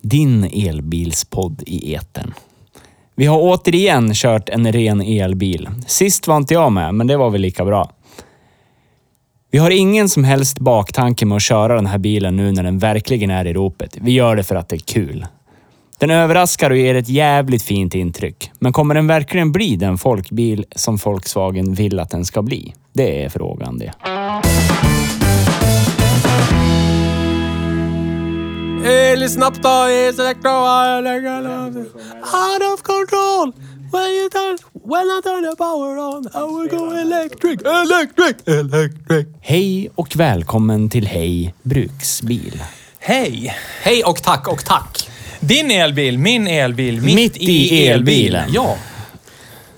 Din elbilspodd i etern. Vi har återigen kört en ren elbil. Sist var inte jag med, men det var väl lika bra. Vi har ingen som helst baktanke med att köra den här bilen nu när den verkligen är i ropet. Vi gör det för att det är kul. Den överraskar och ger ett jävligt fint intryck. Men kommer den verkligen bli den folkbil som Volkswagen vill att den ska bli? Det är frågan det. snabbt då, Out of control! When you turn, when I turn the power on, I will go electric, electric, electric. Hej och välkommen till Hej Bruksbil. Hej! Hej och tack och tack. Din elbil, min elbil, mitt, Mitt i elbilen. Ja,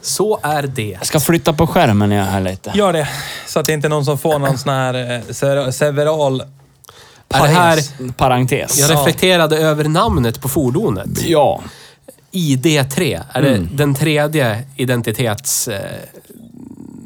så är det. Jag ska flytta på skärmen jag här lite. Gör det, så att det inte är någon som får någon sån här eh, ser- several... Är det här, Paris. Parentes. jag reflekterade över namnet på fordonet. Ja. ID3. Är Mm. det den tredje identitets... Eh,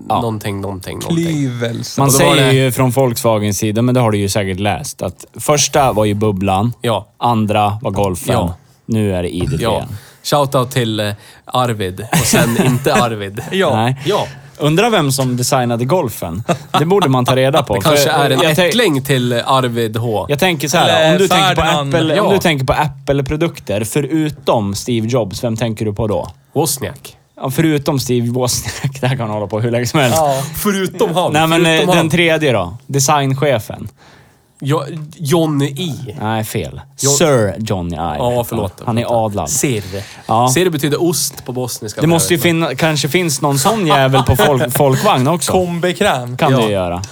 Någonting, någonting, någonting. Klyvelse. Man Och då var säger det- ju från Volkswagens sida, men det har du ju säkert läst, att första var ju bubblan. Ja. Andra var golfen. Ja. Nu är det ID3. Ja. Shoutout till eh, Arvid och sen inte Arvid. Ja. Nej. Ja. Undrar vem som designade golfen. Det borde man ta reda på. Det kanske För är en jag tän- ättling till Arvid H. Jag tänker så här, Eller om du tänker, på Ferdinand. Apple, Ja. om du tänker på Apple-produkter, förutom Steve Jobs, vem tänker du på då? Wozniak. Ja, förutom Steve Wozniak, där kan han hålla på hur länge som helst. Förutom han. Nej, men eh, förutom den han. tredje då? Designchefen. Jo, Johnny I. Nej, fel. Jo- Sir Johnny Ive. Ja, förlåt. Han är adlad. Sirr. Ja. Sirr betyder ost på bosniska. Det måste ju finna, kanske finns någon sån jävel på folk, folkvagn också. Kombikräm. Kan det Ja. ju göra.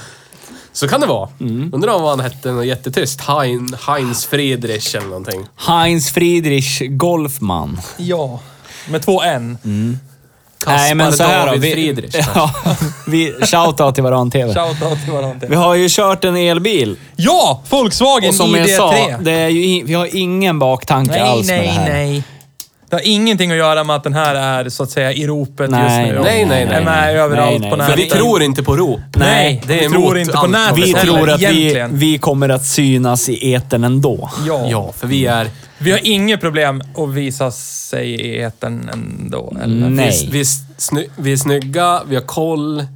Så kan det vara. Mm. Undrar om han hette något jättetyst. Hein, Heinz Friedrich eller någonting. Heinz Friedrich Golfman. Ja. Med två N. Mm. Kaspar David vi- Friedrich. Ja, vi, shoutout till varann TV. Shoutout till varandra. Vi har ju kört en elbil Ja! Volkswagen och som ID3. jag sa, det är ju, i- vi har ingen baktanke alls med det här. Det har ingenting att göra med att den här är så att säga i ropet Nej, just nu. nej, nej, Den nej, är nej. överallt Nej, nej. på För nätet. Vi tror inte på rop. Nej, det vi är tror emot inte på allt nätet. vad Vi heller, tror att vi, egentligen. vi kommer att synas i etern ändå. Ja. Ja, för vi är... Vi har inget problem att visa sig i etern ändå. Eller? Nej. Vi är, sny, vi är snygga, vi har koll. Äh,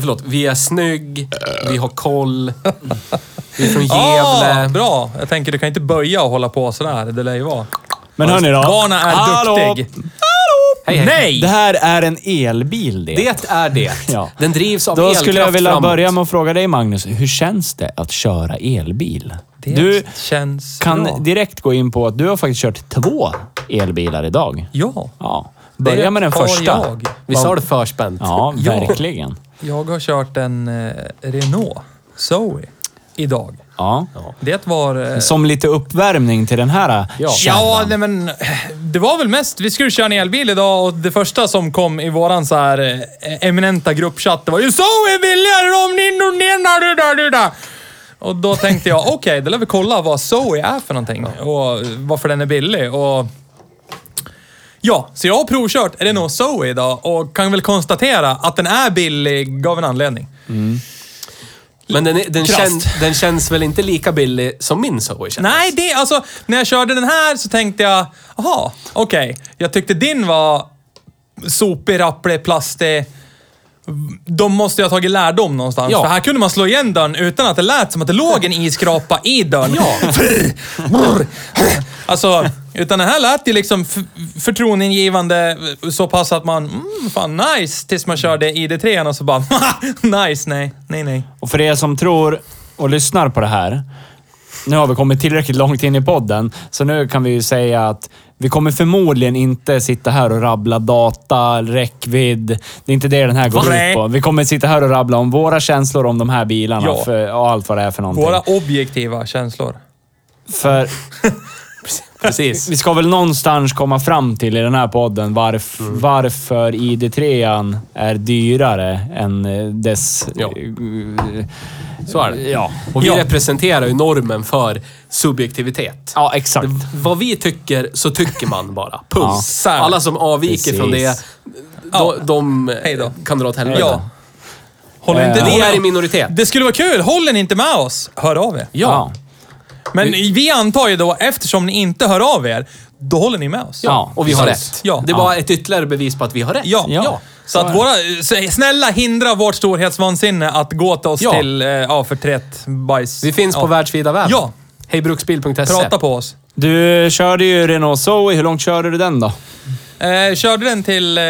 förlåt, vi är snygg, vi har koll. Vi är från Ah, Gävle. bra! Jag tänker, du kan inte böja och hålla på sådär. Det lär ju vara. Men hörni då. Barna är Hallå! duktig. Hej, hej. Nej! Det här är en elbil det. Det är det. Ja. Den drivs av Då elkraft skulle jag vilja framåt. börja med att fråga dig Magnus, hur känns det att köra elbil? Det du känns kan bra. direkt gå in på att du har faktiskt kört två elbilar idag. Ja. Ja. Börja med den har första. Jag. Visst har du förspänt? Ja, Ja. verkligen. jag har kört en eh, Renault Zoe idag. Ja. Det var... eh, Som lite uppvärmning till den här Ja. Ja, kärnan. nej, men det var väl mest... Vi skulle köra en elbil idag och det första som kom i våran så här eh, eminenta gruppchatt, det var ju “Så är billigare om ni nu nenar du där du där!” Och då tänkte jag, okej, då lär vi kolla vad Zoe är för någonting och varför den är billig. Och ja, så jag har provkört Renault Zoe idag och kan väl konstatera att den är billig av en anledning. Men den, är- den, Krasst. kän, den känns väl inte lika billig som min Zoe känns? Nej, det, alltså när jag körde den här så tänkte jag, jaha, okej. Jag tyckte din var sopig, rapplig, plastig. De måste jag ha tagit lärdom någonstans. Ja. För här kunde man slå igen dörren utan att det lät som att det låg en iskrapa i dörren. Ja. alltså, Utan den här lät ju liksom f- förtroendeingivande så pass att man, mm, fan nice, tills man körde ID3 och så bara, nice, nej, nej, nej. Och för er som tror och lyssnar på det här. Nu har vi kommit tillräckligt långt in i podden, så nu kan vi ju säga att vi kommer förmodligen inte sitta här och rabbla data, räckvidd. Det är inte det den här går Nej. ut på. Vi kommer sitta här och rabbla om våra känslor om de här bilarna Ja. för, och allt vad det är för någonting. Våra objektiva känslor. För Precis. vi ska väl någonstans komma fram till i den här podden varf, varför ID3 är dyrare än eh, dess... Ja. eh, Så är det. Ja. Och vi Ja. representerar ju normen för subjektivitet. ja, exakt. Vad vi tycker, så tycker man bara. Puls. Ja. Alla som avviker Precis. från det, Ja. de, de eh, Hej då. kan dra åt helvete. Ja. Håller Eh, inte Vi håller- är i minoritet. Det skulle vara kul, håller ni inte med oss, hör av er. Ja. Men vi antar ju då, eftersom ni inte hör av er, då håller ni med oss. Ja. Och vi har precis. rätt. Ja. Det är bara ett ytterligare bevis på att vi har rätt. Ja. Ja. Så att våra, så snälla hindra vårt storhetsvansinne att gå till oss Ja. till eh, ja, förtret, bajs. Vi finns ja. på världsvida webben. Ja. Hejbruksbil.se. Prata på oss. Du körde ju Renault Zoe. Hur långt körde du den då? Eh, körde den till eh,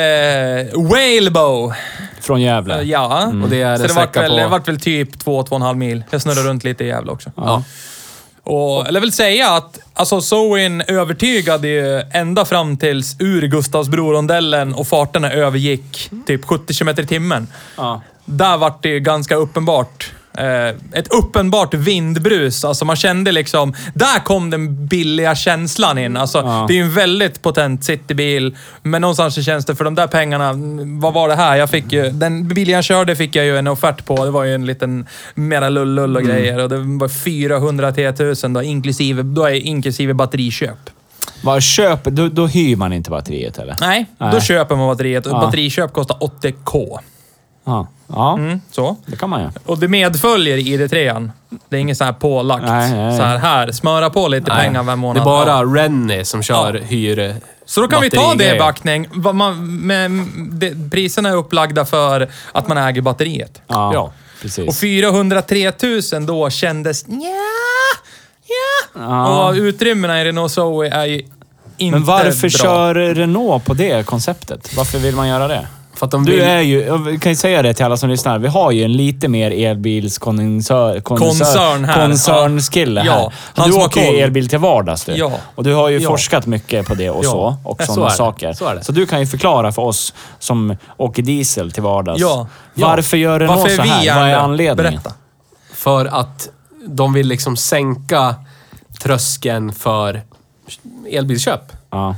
Whalebow. Från Gävle? Eh, ja. Och det är så en det vart sträcka väl, på- det vart väl typ två, två och en halv mil. Jag snurrade runt lite i Gävle också. Ja. Och, eller vill säga att alltså, Zoin övertygade ju ända fram tills ur Gustavsbrorondellen och farterna övergick typ 70 km i timmen. Ja. Där vart det ju ganska uppenbart. Eh, ett uppenbart vindbrus. Alltså man kände liksom... Där kom den billiga känslan in. Alltså, Ja. Det är ju en väldigt potent citybil, men någonstans så känns det för de där pengarna... mm, Vad var det här? Jag fick ju, den bilen jag körde fick jag ju en offert på. Det var ju en liten mera lullull och Mm. grejer. Och det var 400 T1000 då, inklusive, då är inklusive batteriköp. Vad köp, då, då hyr man inte batteriet eller? Nej, då Nej. köper man batteriet. Och Ja. Batteriköp kostar 80K. Ja, ja Mm, så. det kan man ju. Och det medföljer id 3 Det är inget så här pålagt. Nej, nej. Så här, här, smöra på lite pengar varje Det är månad. bara Rennie som kör hyr... Så då kan vi ta det i batterigrejer. backning. Vad man, men det, priserna är upplagda för att man äger batteriet. Ja, Ja. precis. Och 403 000 då kändes... Nja, ja. Ja. Och utrymmena i Renault Zoe är ju inte Men varför bra. kör Renault på det konceptet? Varför vill man göra det? För att de vill... Du är ju, jag kan ju säga det till alla som lyssnar, vi har ju en lite mer elbilskoncern... Koncern här. Koncernskille Ja. här. Ja, han du som har åker koll. ju elbil till vardags du. Ja. Och du har ju Ja. forskat mycket på det och Ja. så. Och Ja, så sådana är det. saker. Så är det. du kan ju förklara för oss som åker diesel till vardags. Ja. Ja. Varför gör Renault Varför är så vi här? Vad är järnlöda? anledningen? Berätta. För att de vill liksom sänka tröskeln för elbilsköp. Ja.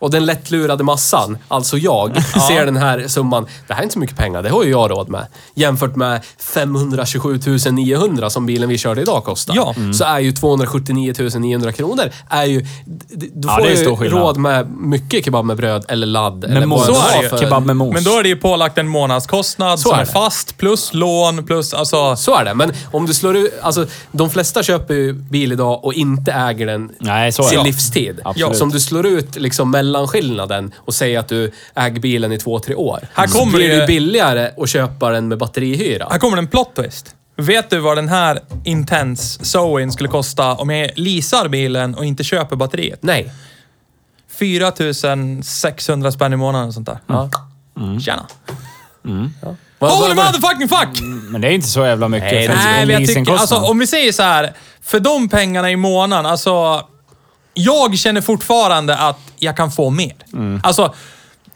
Och den lättlurade massan, alltså jag, ser den här summan. Det här är inte så mycket pengar, det har ju jag råd med. Jämfört med 527 900 som bilen vi körde idag kostar. Ja. Så Mm. är ju 279 900 kronor, är ju... d- d- Du Ja, får det är ju stor skillnad. råd med mycket kebab med bröd eller ladd. eller Med vad mos. det var Så är det ju. för- Kebab med mos. Men då är det ju pålagt en månadskostnad Så som är är det. fast, plus lån, plus... Alltså, Så är det, men om du slår ut... Alltså, de flesta köper ju bil idag och inte äger den Nej, så är sin det. livstid. Absolut. Så om du slår ut liksom mellanskillnaden och säger att du äger bilen i två, tre år. Här så kommer blir det- det ju billigare att köpa den med batterihyra. Här kommer en plot twist. Vet du vad den här Intense Zoen skulle kosta om jag leasar bilen och inte köper batteriet? Nej. 4 600 spänn i månaden och sånt där. Ja. Tjena! Mm. Vad- Holy vad- vad- motherfucking fuck! Men det är inte så jävla mycket Nej, för en- Nej, en men jag tycker... leasingkostnad. Alltså, om vi säger så här. För de pengarna i månaden, alltså... Jag känner fortfarande att jag kan få mer. Mm. Alltså,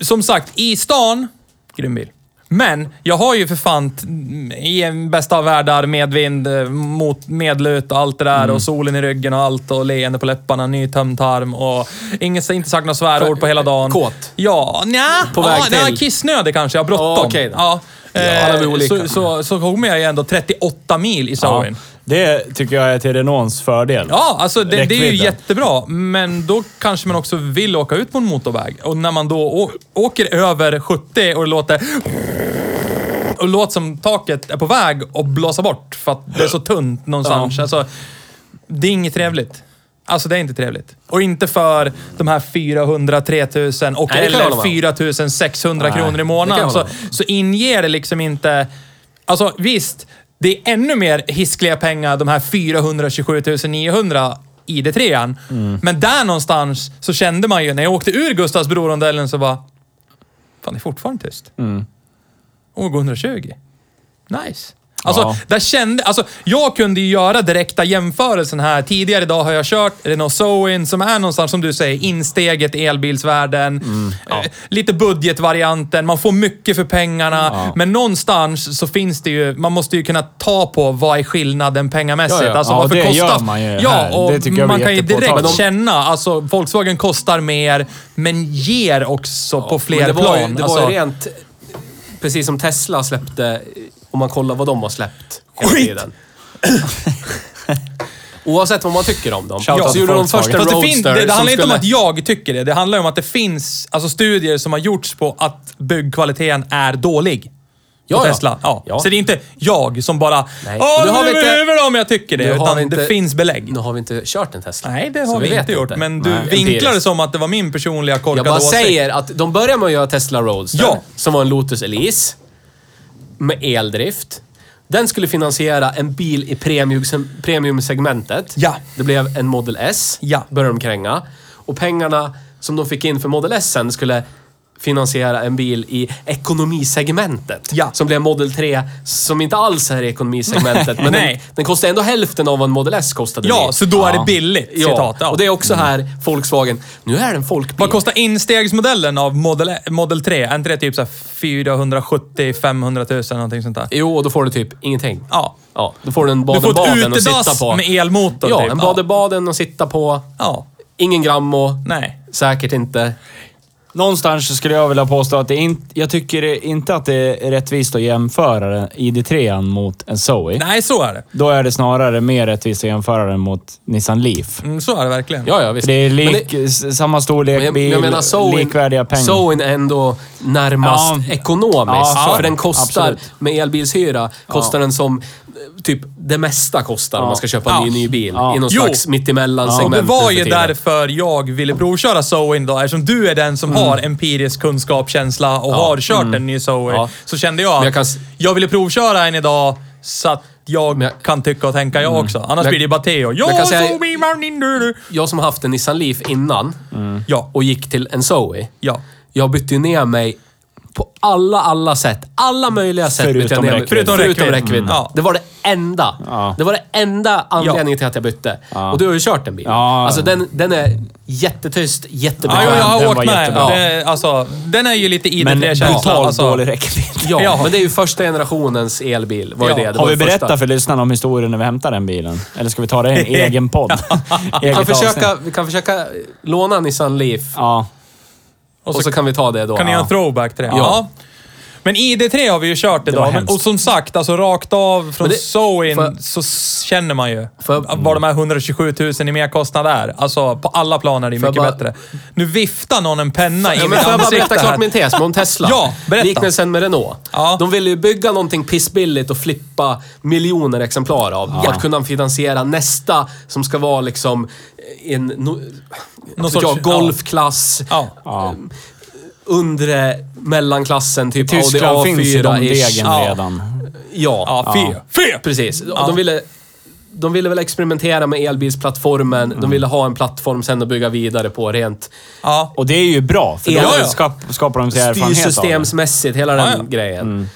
som sagt, i stan, grym bil. Men jag har ju för fan t- i en bästa av världar medvind, eh, mot medlut och allt det där Mm. och solen i ryggen och allt och leende på läpparna, nytömd tarm och inget, inte sagt några svärord på hela dagen. Kåt. Ja, nja. På väg ja, nja, till. Kissnödig kanske, jag har bråttom. Ja, okej då. ja. Ja, alla är Eh, olika. så, så, så kommer jag ju ändå 38 mil i ja. Zoen. Ja. Det tycker jag är till Renaults fördel. alltså det, det är ju Räckvidden. jättebra, men då kanske man också vill åka ut på en motorväg. Och när man då å- åker över 70 och det låter... Och låter som taket är på väg att blåsa bort för att det är så tunt någonstans. Alltså, det är inget trevligt. Alltså det är inte trevligt. Och inte för de här 403 000 och Nej, det kan jag hålla med eller om. 4 600 Nej, kronor i det kan månaden. jag Så, hålla så inger det liksom inte... Alltså visst, det är ännu mer hiskliga pengar de här 427 900 ID3. Mm. Men där någonstans så kände man ju, när jag åkte ur Gustavsbrorondellen så bara... Fan, det är fortfarande tyst. Och gå 120. Nice. Alltså, Ja. där kände, alltså, jag kunde ju göra direkta jämförelsen här. Tidigare idag har jag kört Renault Zoin som är någonstans, som du säger, insteget i elbilsvärlden. Mm, Eh, Lite budgetvarianten, man får mycket för pengarna. Ja. Men någonstans så finns det ju, man måste ju kunna ta på vad är skillnaden pengamässigt. Ja, ja. Alltså, Ja, varför det kostar... gör man ju ja, här. och Det tycker jag man är kan ju direkt jättepåtagligt. känna känna. Alltså, Volkswagen kostar mer, men ger också på fler Men det plan. Var ju, det alltså, var ju rent... Precis som Tesla släppte, om man kollar vad de har släppt hela Skit! tiden. Oavsett vad man tycker om dem. Shout out så gjorde de Volkswagen. först en Fast det, Roadster fin, det, det som handlar inte om skulle- att jag tycker det. Det handlar om att det finns alltså, studier som har gjorts på att byggkvaliteten är dålig. Ja, på ja. Tesla. Ja. Ja. Så det är inte jag som bara Nej. Åh, Nu nu har har vi inte- över om jag tycker det. Nu har Utan vi inte- det finns belägg. Nu har vi inte kört en Tesla. Nej, det så har vi, vet inte gjort. Men du Nej. vinklar det Empiriskt. som att det var min personliga Jag korkade bara åsikt. säger att de börjar med att göra Tesla Roadster, Ja. som var en Lotus Elise, med eldrift. Den skulle finansiera en bil i premium- premiumsegmentet. Ja. Det blev en Model S, Ja. började de kränga. Och pengarna som de fick in för Model S sen skulle finansiera en bil i ekonomisegmentet. Ja. Som blev Model 3, som inte alls är i ekonomisegmentet. men den, Nej. den kostar ändå hälften av vad en Model S kostade. Ja, ny. så då är det Ja. billigt. Ja, Citat. Ja. och det är också här Volkswagen. Nu är det en folkbil. Vad kostar instegsmodellen av Model, E- Model 3? Är inte det typ 470-500 000 någonting sånt där? Jo, och då får du typ ingenting. Ja. ja då får du en Du får ett Baden-Baden att sitta utedass på. med elmotor. ja, typ. en Baden-Baden att sitta på. Ja. Ingen Grammo. Nej. Säkert inte. Någonstans så skulle jag vilja påstå att det inte, jag tycker inte att det är rättvist att jämföra ID3 mot en Zoe. Nej, så är det. Då är det snarare mer rättvist att jämföra den mot Nissan Leaf. Mm, så är det verkligen. Ja, ja, För visst. det är Men lik, det- s- samma storlek men bil, jag menar Zoin, likvärdiga pengar. Zoin är ändå närmast Ja. ekonomiskt. Ja, så är för det. den kostar, Absolut. med elbilshyra, kostar den som eh, typ det mesta kostar om man ska köpa en Ja. ny, ny bil. Ja. I någon Jo. slags mittemellan-segment. Och det var nu ju för tiden. därför jag ville provköra Zoin då, eftersom du är den som Mm. har empirisk kunskap, känsla och har kört en ny Zoe. Ja. Så kände jag Men att jag jag, kan s- ville provköra en idag så att jag Men jag- Mm. kan tycka och tänka jag också. Annars Men- blir det bara Teo. jag kan Ja, säga- Zoe, man, din, du, du. Jag som haft en Nissan Leaf innan Ja, och gick till en Zoe. ja. Jag bytte ju ner mig på alla, alla sätt. Alla möjliga sätt Förutom bytte jag ner mig. räckvidd. Förutom Förutom räckvidd. räckvidd. Mm. Ja. Det var det enda. Ja. Det var det enda anledningen till att jag bytte. Och du har ju kört den bilen. Ja. Alltså den, den är jättetyst, Ja, jättebra. jo, jag den har var åkt med. jättebra. Det, alltså, den är ju lite men ID3-känsla. brutalt Alltså, dålig räckvidd. Ja, Ja. men det är ju första generationens elbil. Var ju Ja. det. det var Har vi ju första. berättat för lyssnarna om historien när vi hämtade den bilen? Eller ska vi ta det i en egen podd? Vi Eget kan, försöka, avsnitt. vi kan försöka låna Nissan Leaf Ja. och så, kan vi ta det då. Kan ni göra en throwback till det? Ja. Men ID3 har vi ju kört var idag. Men, hemskt. och som sagt, alltså rakt av från Men det- Zoin får jag- så s- känner man ju Får jag- vad de här 127 000 i merkostnad är. Alltså på alla plan är det ju Får jag mycket bara- bättre. Nu viftar någon en penna Ja, i men mitt får jag bara berätta ansikte klart här. min tes om Tesla? Ja, berätta. Liknelsen med Renault. Ja. De ville ju bygga någonting pissbilligt och flippa miljoner exemplar av. För att kunna finansiera nästa som ska vara liksom en... No, Någon sorts- jag, golfklass. Ja. Ja. Undre mellanklassen, typ Tyskland Audi finns ju de A4-ish. degen Ja. redan. Ja. Ja, fe. Fe! Precis. Och De, ville, de ville väl experimentera med elbilsplattformen. De ville ha en plattform sen att bygga vidare på rent Ja. Och det är ju bra, för då Ja, ja. skap- skapar de sig erfarenhet av det. Mm. styrsystemsmässigt, hela den Ja, ja. grejen.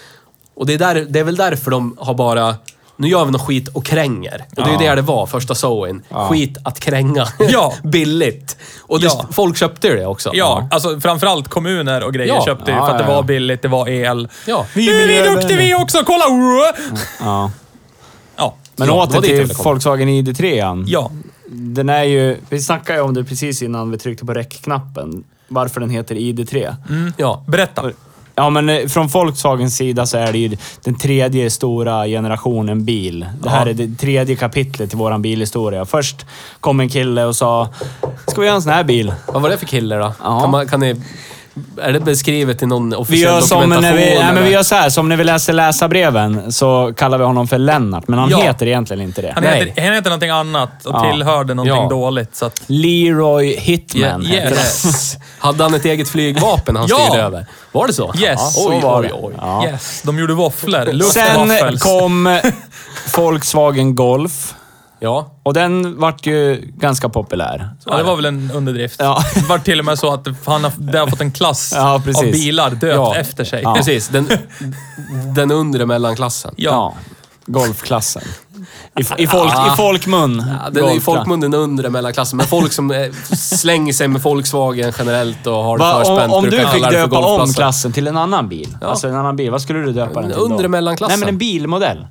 Och det är, där, det är väl därför de har bara... Nu gör vi något skit och kränger. Och det är ju Ja. det det var, första Zoin. Skit att kränga. Ja. Billigt. Och det, Ja. folk köpte ju det också. Ja, alltså framförallt kommuner och grejer Ja. köpte ju Ja, för att ja, det ja. var billigt, det var el. Ja. Nu är vi duktiga vi också, kolla! Ja. Ja. Men Ja, det åter var dit jag till ville komma. Volkswagen ID3. Ja. Den är ju... Vi snackade ju om det precis innan vi tryckte på räckknappen. Varför den heter ID3. Ja. Berätta. Ja, men eh, från Volkswagens sida så är det ju den tredje stora generationen bil. Det här är det tredje kapitlet i våran bilhistoria. Först kom en kille och sa, ska vi göra en sån här bil? Vad var det för kille då? Ja. Kan, man, kan ni... Är det beskrivet i någon Vi officiell gör, som dokumentation? när vi, nej, men eller? vi gör så här, som när vi läser läsarbreven så kallar vi honom för Lennart, men han Ja. heter egentligen inte det. Han Nej. heter, han heter någonting annat och Ja. tillhörde någonting Ja. dåligt. Så att, Leroy Hitman Yeah, heter han. yes. Hade han ett eget flygvapen han Ja. styrde över? Var det så? Yes. Ja, Så oj, var oj, det. oj. Ja. Yes, de gjorde våfflor. Luftwaffels. Sen kom Volkswagen Golf. Ja. Och den vart ju ganska populär. Ja, det var väl en underdrift. Ja. Det var till och med så att han har, det har fått en klass Ja, av precis. bilar döpt Ja. efter sig. Ja. Precis, den, den undre mellanklassen. Ja. Golfklassen. I, i, folk, I folkmun. Ja, Den är i Golfklass. folkmunnen undre mellanklassen, men folk som eh, slänger sig med Volkswagen generellt och har det Va, förspänt om, om brukar du fick kalla det för döpa om golfklassen. klassen till en annan bil, alltså en annan bil, vad skulle du döpa den till då? Undre mellanklassen. Nej, men en bilmodell.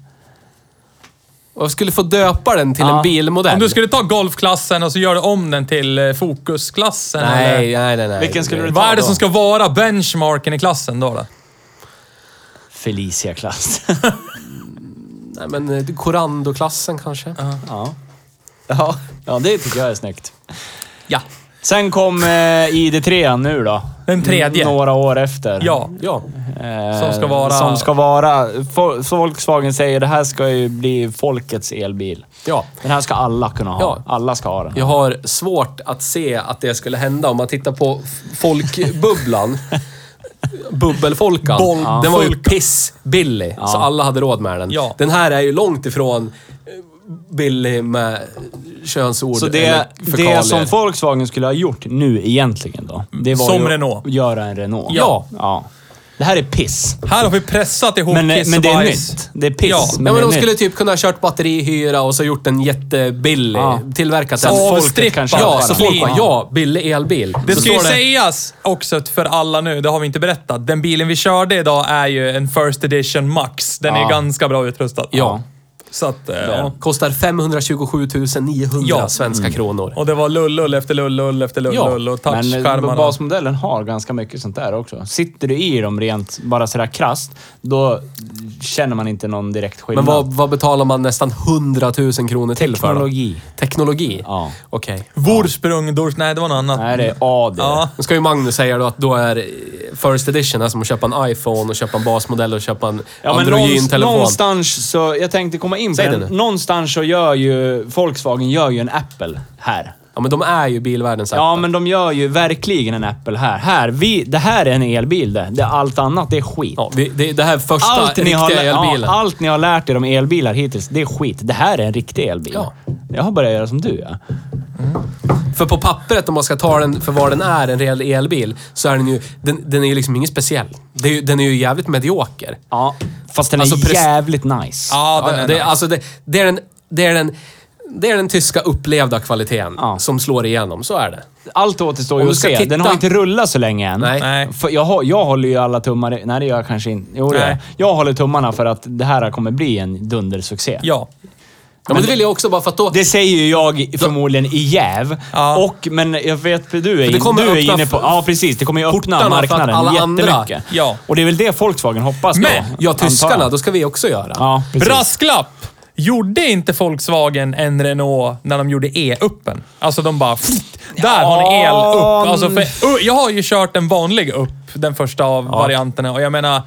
Och jag skulle få döpa den till Ja. en bilmodell. Om du skulle ta golfklassen och så gör du om den till eh, fokusklassen Nej, nej, nej, nej. Vilken skulle eller... du- Vad är det ta som då. ska vara benchmarken i klassen då? då? Felicia-klass. Nej, men eh, Corando-klassen kanske? ja. Ja. ja, det tycker jag är snyggt. Ja. Sen kom eh, ID3 nu då. Den tredje. N- Några år efter. Ja. Ja. Eh, Som ska vara- Som ska vara... Fo- Volkswagen säger det här ska ju bli folkets elbil. ja. Den här ska alla kunna ha. Ja. Alla ska ha den. Jag har svårt att se att det skulle hända om man tittar på f- folkbubblan. Bubbelfolkan. Boll- Den var ju folkan. pissbillig, så alla hade råd med den. Ja. Den här är ju långt ifrån eh, billig med könsord Så det, eller fekalier. det som Volkswagen skulle ha gjort nu egentligen då. Det var Som ju Renault. att göra en Renault. Ja. ja. Det här är piss. Här har vi pressat ihop Men, eh, kiss men och det är bajs. nytt. Det är piss. Ja. Men Ja, det men är de nytt. skulle typ kunna ha kört batterihyra och så gjort den jättebillig. Ja. Tillverkat Så den. folk Folk- kanske Ja, bara- så folk bara, Clean. ja, billig elbil. Det så ska ju står sägas också för alla nu, det har vi inte berättat. Den bilen vi körde idag är ju en First Edition Max. Den är Ja. ganska bra utrustad. Ja. Så att, eh, ja. Kostar 527 900 Ja. svenska Mm. kronor. Och det var lullull efter lullull efter Ja, lullull och Men eh, touchskärmar. och- basmodellen har ganska mycket sånt där också. Sitter du i dem rent bara sådär krasst, då känner man inte någon direkt skillnad. Men vad, vad betalar man nästan 100 000 kronor till för? då? Teknologi. Teknologi? Ja. Okej. Vorsprung, dors... Nej, det var något annat. Nej, det är AD. Ja. Nu ska ju Magnus säga då att då är eh, first edition är som att köpa en iPhone och köpa en basmodell och köpa en Ja, men någonst- androgyn-telefon. någonstans så... Jag tänkte komma in på Säg det den. nu. Någonstans så gör ju... Volkswagen gör ju en Apple här. Ja, men de är ju bilvärldens Apple. Ja, men de gör ju verkligen en Apple här. här vi, det här är en elbil det. det. Allt annat, det är skit. Ja, det, det, det här är första Allt ni, riktiga har, lä- elbilen. ja, allt ni har lärt er om elbilar hittills, det är skit. Det här är en riktig elbil. Ja. Jag har börjat göra som du, ja. För på pappret, om man ska ta den för vad den är, en reell elbil, så är den ju... Den, den är ju liksom ingen speciell. Det är ju, den är ju jävligt medioker. ja. Fast den Alltså, är prest- jävligt nice. Ja, Ja, den är det, nice. alltså det, det, är den, det, är den, det är den tyska upplevda kvaliteten Ja. som slår igenom. Så är det. Allt återstår Om ju du att ska se. titta- Den har inte rullat så länge än. Nej. Nej. För jag, hå- jag håller ju alla tummar... i- Nej, det gör jag kanske inte. Jo, det gör Nej. jag. Jag håller tummarna för att det här kommer bli en dundersuccé. Ja. Ja, men det vill jag också bara för att då... Det säger ju jag förmodligen i jäv. Ja. Och, men jag vet att du är, det in, kommer du är öppna inne på... f- Ja, precis. Det kommer ju portarna för öppna att marknaden alla andra- jättemycket. Ja. Och det är väl det Volkswagen hoppas Men, på. ja, antar jag. tyskarna, då ska vi också göra. Ja, precis. Brasklapp! Gjorde inte Volkswagen en Renault när de gjorde E-uppen? Alltså de bara... Pfft, där har ni el-upp. Alltså för, uh, jag har ju kört den vanliga upp, den första av varianterna. Och jag menar,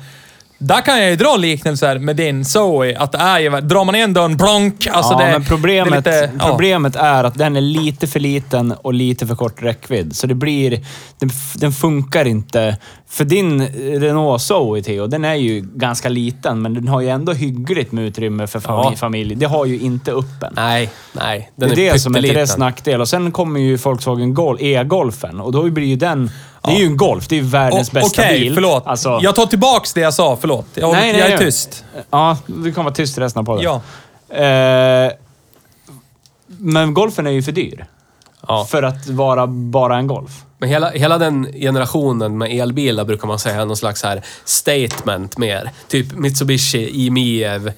där kan jag ju dra liknelser med din Zoe. Att det är ju... Drar man igen dörren, plonk. Alltså ja, det, men problemet, det är lite, ja. problemet är att den är lite för liten och lite för kort räckvidd. Så det blir... Den, f- den funkar inte. För din Renault Zoe, Theo, den är ju ganska liten, men den har ju ändå hyggligt med utrymme för fami- Ja. familj. Det har ju inte uppen. Nej, nej. Den Det är är, det som är till pytteliten. dess nackdel. Och sen kommer ju Volkswagen Gol- E-Golfen och då blir ju den... Det är ju en Golf. Det är ju världens Och- bästa Okej, bil. förlåt. Alltså, Jag tar tillbaks det jag sa. Förlåt. Jag, jag är tyst. Ja, du kan vara tyst resten av podden. Ja. Eh, men golfen är ju för dyr. Ja. För att vara bara en golf. Men hela, hela den generationen med elbilar brukar man säga är någon slags här statement mer. Typ Mitsubishi, IMEV. Eh,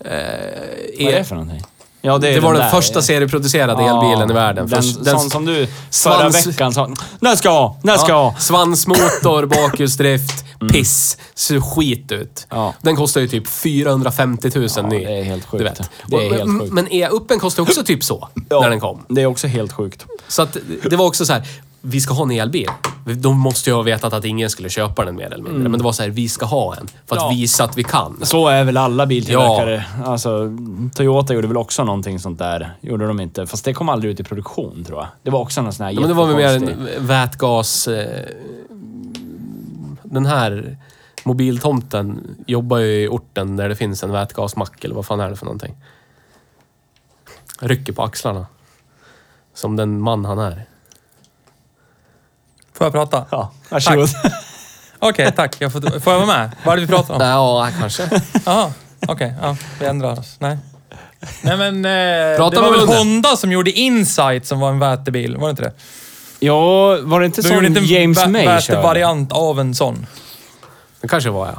Vad är e- det för någonting? Ja, är det var den, där. första serieproducerade Ja, elbilen i världen. Den, Först- sån som du förra Svans- veckan sa. Den ska jag ha! Den ska jag Ja, ha! svansmotor, bakhjulsdrift, piss. Ser skit ut. Ja. Den kostar ju typ 450 000 ny. det är helt sjukt. Du vet. Det är Och- helt sjukt. Men E-uppen kostade också typ så, Ja, när den kom. Det är också helt sjukt. Så att det var också så här, vi ska ha en elbil. De måste ju ha vetat att ingen skulle köpa den mer eller Mm. mindre. Men det var så här, vi ska ha en. För att Ja. visa att vi kan. Så är väl alla biltillverkare. Alltså, Toyota gjorde väl också någonting sånt där. Gjorde de inte. Fast det kom aldrig ut i produktion, tror jag. Det var också någon sån här Ja, men det var väl mer jättekonstig- en vätgas... Eh, den här mobiltomten jobbar ju i orten där det finns en vätgasmack, eller vad fan är det för någonting? Rycker på axlarna. Som den man han är. Får jag prata? Ja, varsågod. Okej, tack. Jag får, får jag vara med? Vad är det vi pratar om? Nej, ja, kanske. Jaha, okej. ja, vi ändrar oss. Nej. Nej men, eh, Prata det var med väl munnen. Honda som gjorde Insight som var en vätebil, var det inte det? Ja, var det inte De som gjorde inte en James vä- May körde? vätevariant av en sån. Det kanske var jag.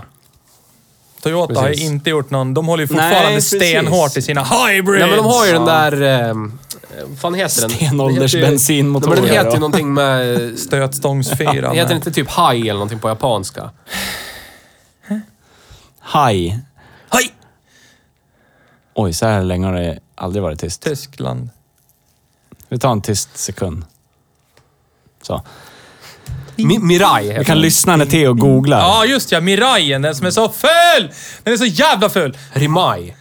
Toyota har ju Precis. inte gjort någon. De håller ju fortfarande Nej, precis. stenhårt i sina hybrids. Nej, men de har ju den där... ehm, eh, vad fan heter den? Stenåldersbensinmotorer, Den heter ju- Nej, men Den heter ja. ju någonting med... Stötstångsfyra. Heter den inte typ haj eller någonting på japanska? Haj. Hej! Oj, så här länge har det aldrig varit tyst. Tyskland. Vi tar en tyst sekund. Så. Mi Mirai heter Vi kan den. lyssna när Theo googlar. Ja, just ja. Mirajen, den som är så ful! Den är så jävla ful! Rimai.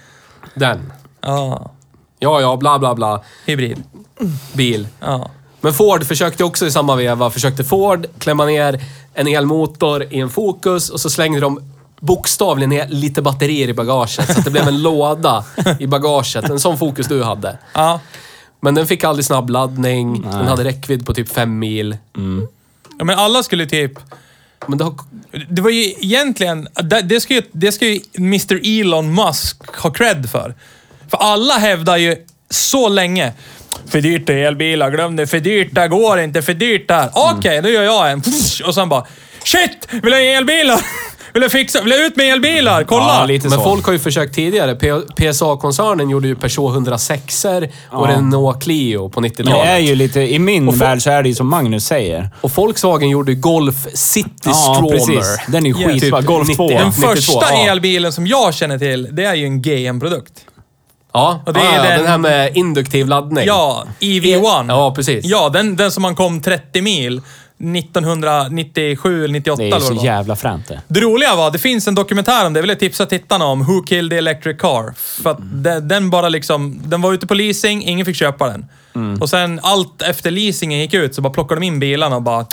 Den. Ja, Ja, ja, bla, bla, bla. hybrid. Bil. Ja. Men Ford försökte också i samma veva, försökte Ford klämma ner en elmotor i en Focus och så slängde de bokstavligen ner lite batterier i bagaget så att det blev en låda i bagaget. En sån Focus du hade. Ja. Men den fick aldrig snabbladdning, den hade räckvidd på typ fem mil. ja, men alla skulle typ... Men det har... Det var ju egentligen... Det, det, ska ju, det ska ju Mr Elon Musk ha cred för. För alla hävdar ju så länge. För dyrt är elbilar, glöm det. För dyrt, det går inte. För dyrt där. Mm. Okej, då gör jag en. Och sen bara... Shit! Vill jag ha elbilar? Vill jag fixa? Vill jag ut med elbilar? Kolla! Ja, lite Men så. folk har ju försökt tidigare. P- PSA-koncernen gjorde ju Peugeot 106 och Renault Clio på Men det är 90-talet. ju lite, i min värld så är det ju som Magnus säger. Och Volkswagen gjorde ju Golf City Stroller. Den är ju Yeah. skitbra. Typ Golf 90. 2. Den 92, första ja. elbilen som jag känner till, det är ju en GM-produkt. Ja, Och det ja, är ja, den- den... här med induktiv laddning. E- Ja, EV1. Ja, precis. Ja, den, den som man kom 30 mil 1997 eller 98 eller Det är ju vad så det var. jävla fränt det. Det roliga var, det finns en dokumentär om det, jag vill tipsa tittarna om, Who Killed the Electric Car. För att Mm. den, den bara liksom, den var ute på leasing, ingen fick köpa den. Mm. Och sen allt efter leasingen gick ut så bara plockade de in bilarna och bara...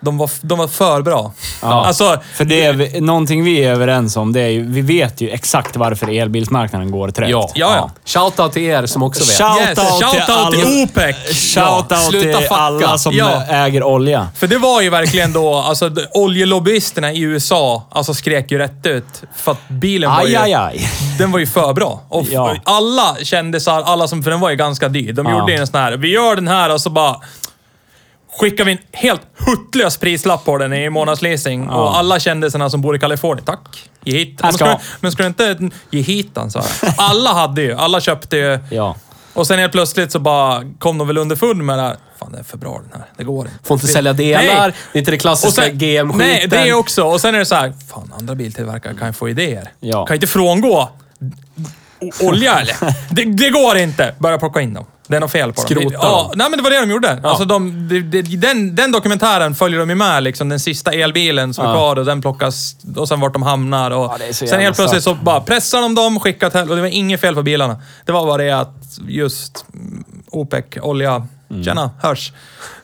De var, de var för bra. Alltså, För det är vi, någonting vi är överens om, det är ju, vi vet ju exakt varför elbilsmarknaden går trött. Ja. Ja, ja. Shoutout till er som också vet. Shout yes, out till shout out alla- till OPEC! Shoutout Ja, till sluta fucka. alla som Ja. äger olja. För det var ju verkligen då, alltså d- oljelobbyisterna i USA alltså skrek ju rätt ut. För att bilen var Aj, ju, aj, aj. Den var ju för bra. Och f- Ja. alla kändisar, alla som, för den var ju ganska dyr. De Ja. gjorde ju en sån här, vi gör den här och så bara skickar vi en helt huttlös prislapp på den i månadsleasing. Och alla kändisarna som bor i Kalifornien, tack. Ge hit Här men ska ska, ha. men ska du inte ge hit den, så här. Alla hade ju, alla köpte ju. Ja. Och sen helt plötsligt så bara kom de väl underfund med det här. Fan, den är för bra den här. Det går inte. Får inte sälja delar. Nej. Det är inte det klassiska GM-skiten. Nej, det också. Och sen är det så här, fan andra biltillverkare kan ju få idéer. Ja. Kan inte frångå o- olja eller? Det, det går inte! Börja plocka in dem. Det är något fel på dem. Skrota Ja, dem. nej men det var det de gjorde. Alltså de, de, de, den, den dokumentären följer de ju med liksom. Den sista elbilen som är kvar och den plockas och sen vart de hamnar och... det är så sen jävla helt plötsligt så bara pressar de dem, skickar till... Och det var inget fel på bilarna. Det var bara det att just mm, OPEC, olja... Tjena, hörs.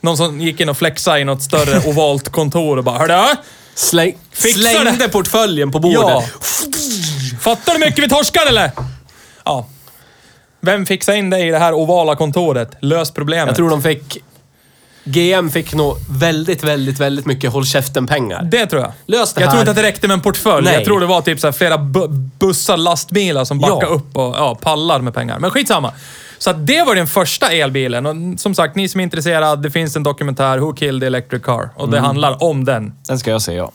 Någon som gick in och flexade i något större ovalt kontor och bara Hörru! Släng, Fixa slängde det. portföljen på bordet. Ja. Fattar du hur mycket vi torskar eller? Ja. Vem fixar in dig i det här ovala kontoret? Lös problemet. Jag tror de fick... GM fick nog väldigt, väldigt, väldigt mycket håll käften-pengar. Det tror jag. Lös det jag här. tror inte att det räckte med en portfölj. Nej. Jag tror det var typ så här flera bu bussar, lastbilar som backade Ja. upp och ja, pallar med pengar. Men skitsamma. Så att det var den första elbilen. Och som sagt, ni som är intresserade, det finns en dokumentär, Who Killed the Electric Car? Och Mm. det handlar om den. Den ska jag säga ja.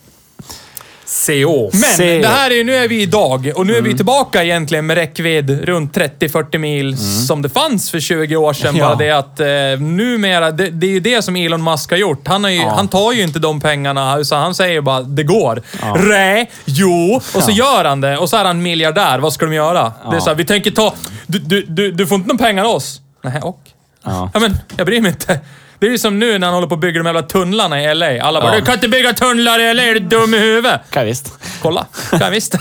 CO. Men Se. Mm. det här är ju, nu är vi idag och nu är vi tillbaka egentligen med räckvidd runt 30-40 mil som det fanns för 20 år sedan. Ja. Bara det att eh, numera, det, det är ju det som Elon Musk har gjort. Han, har ju, han tar ju inte de pengarna, utan han säger bara det går. Rä, jo, och så Ja. gör han det. Och så är han miljardär. Vad ska de göra? Det är Ja. så här, vi tänker ta... Du, du, du, du får inte någon pengar av oss. Nej, och? Ja. Ja, men jag bryr mig inte. Det är ju som nu när han håller på och bygger de jävla tunnlarna i LA. Alla bara, du kan inte bygga tunnlar i LA, är du dum i huvudet? Kan jag visst. Kolla, kan jag visst.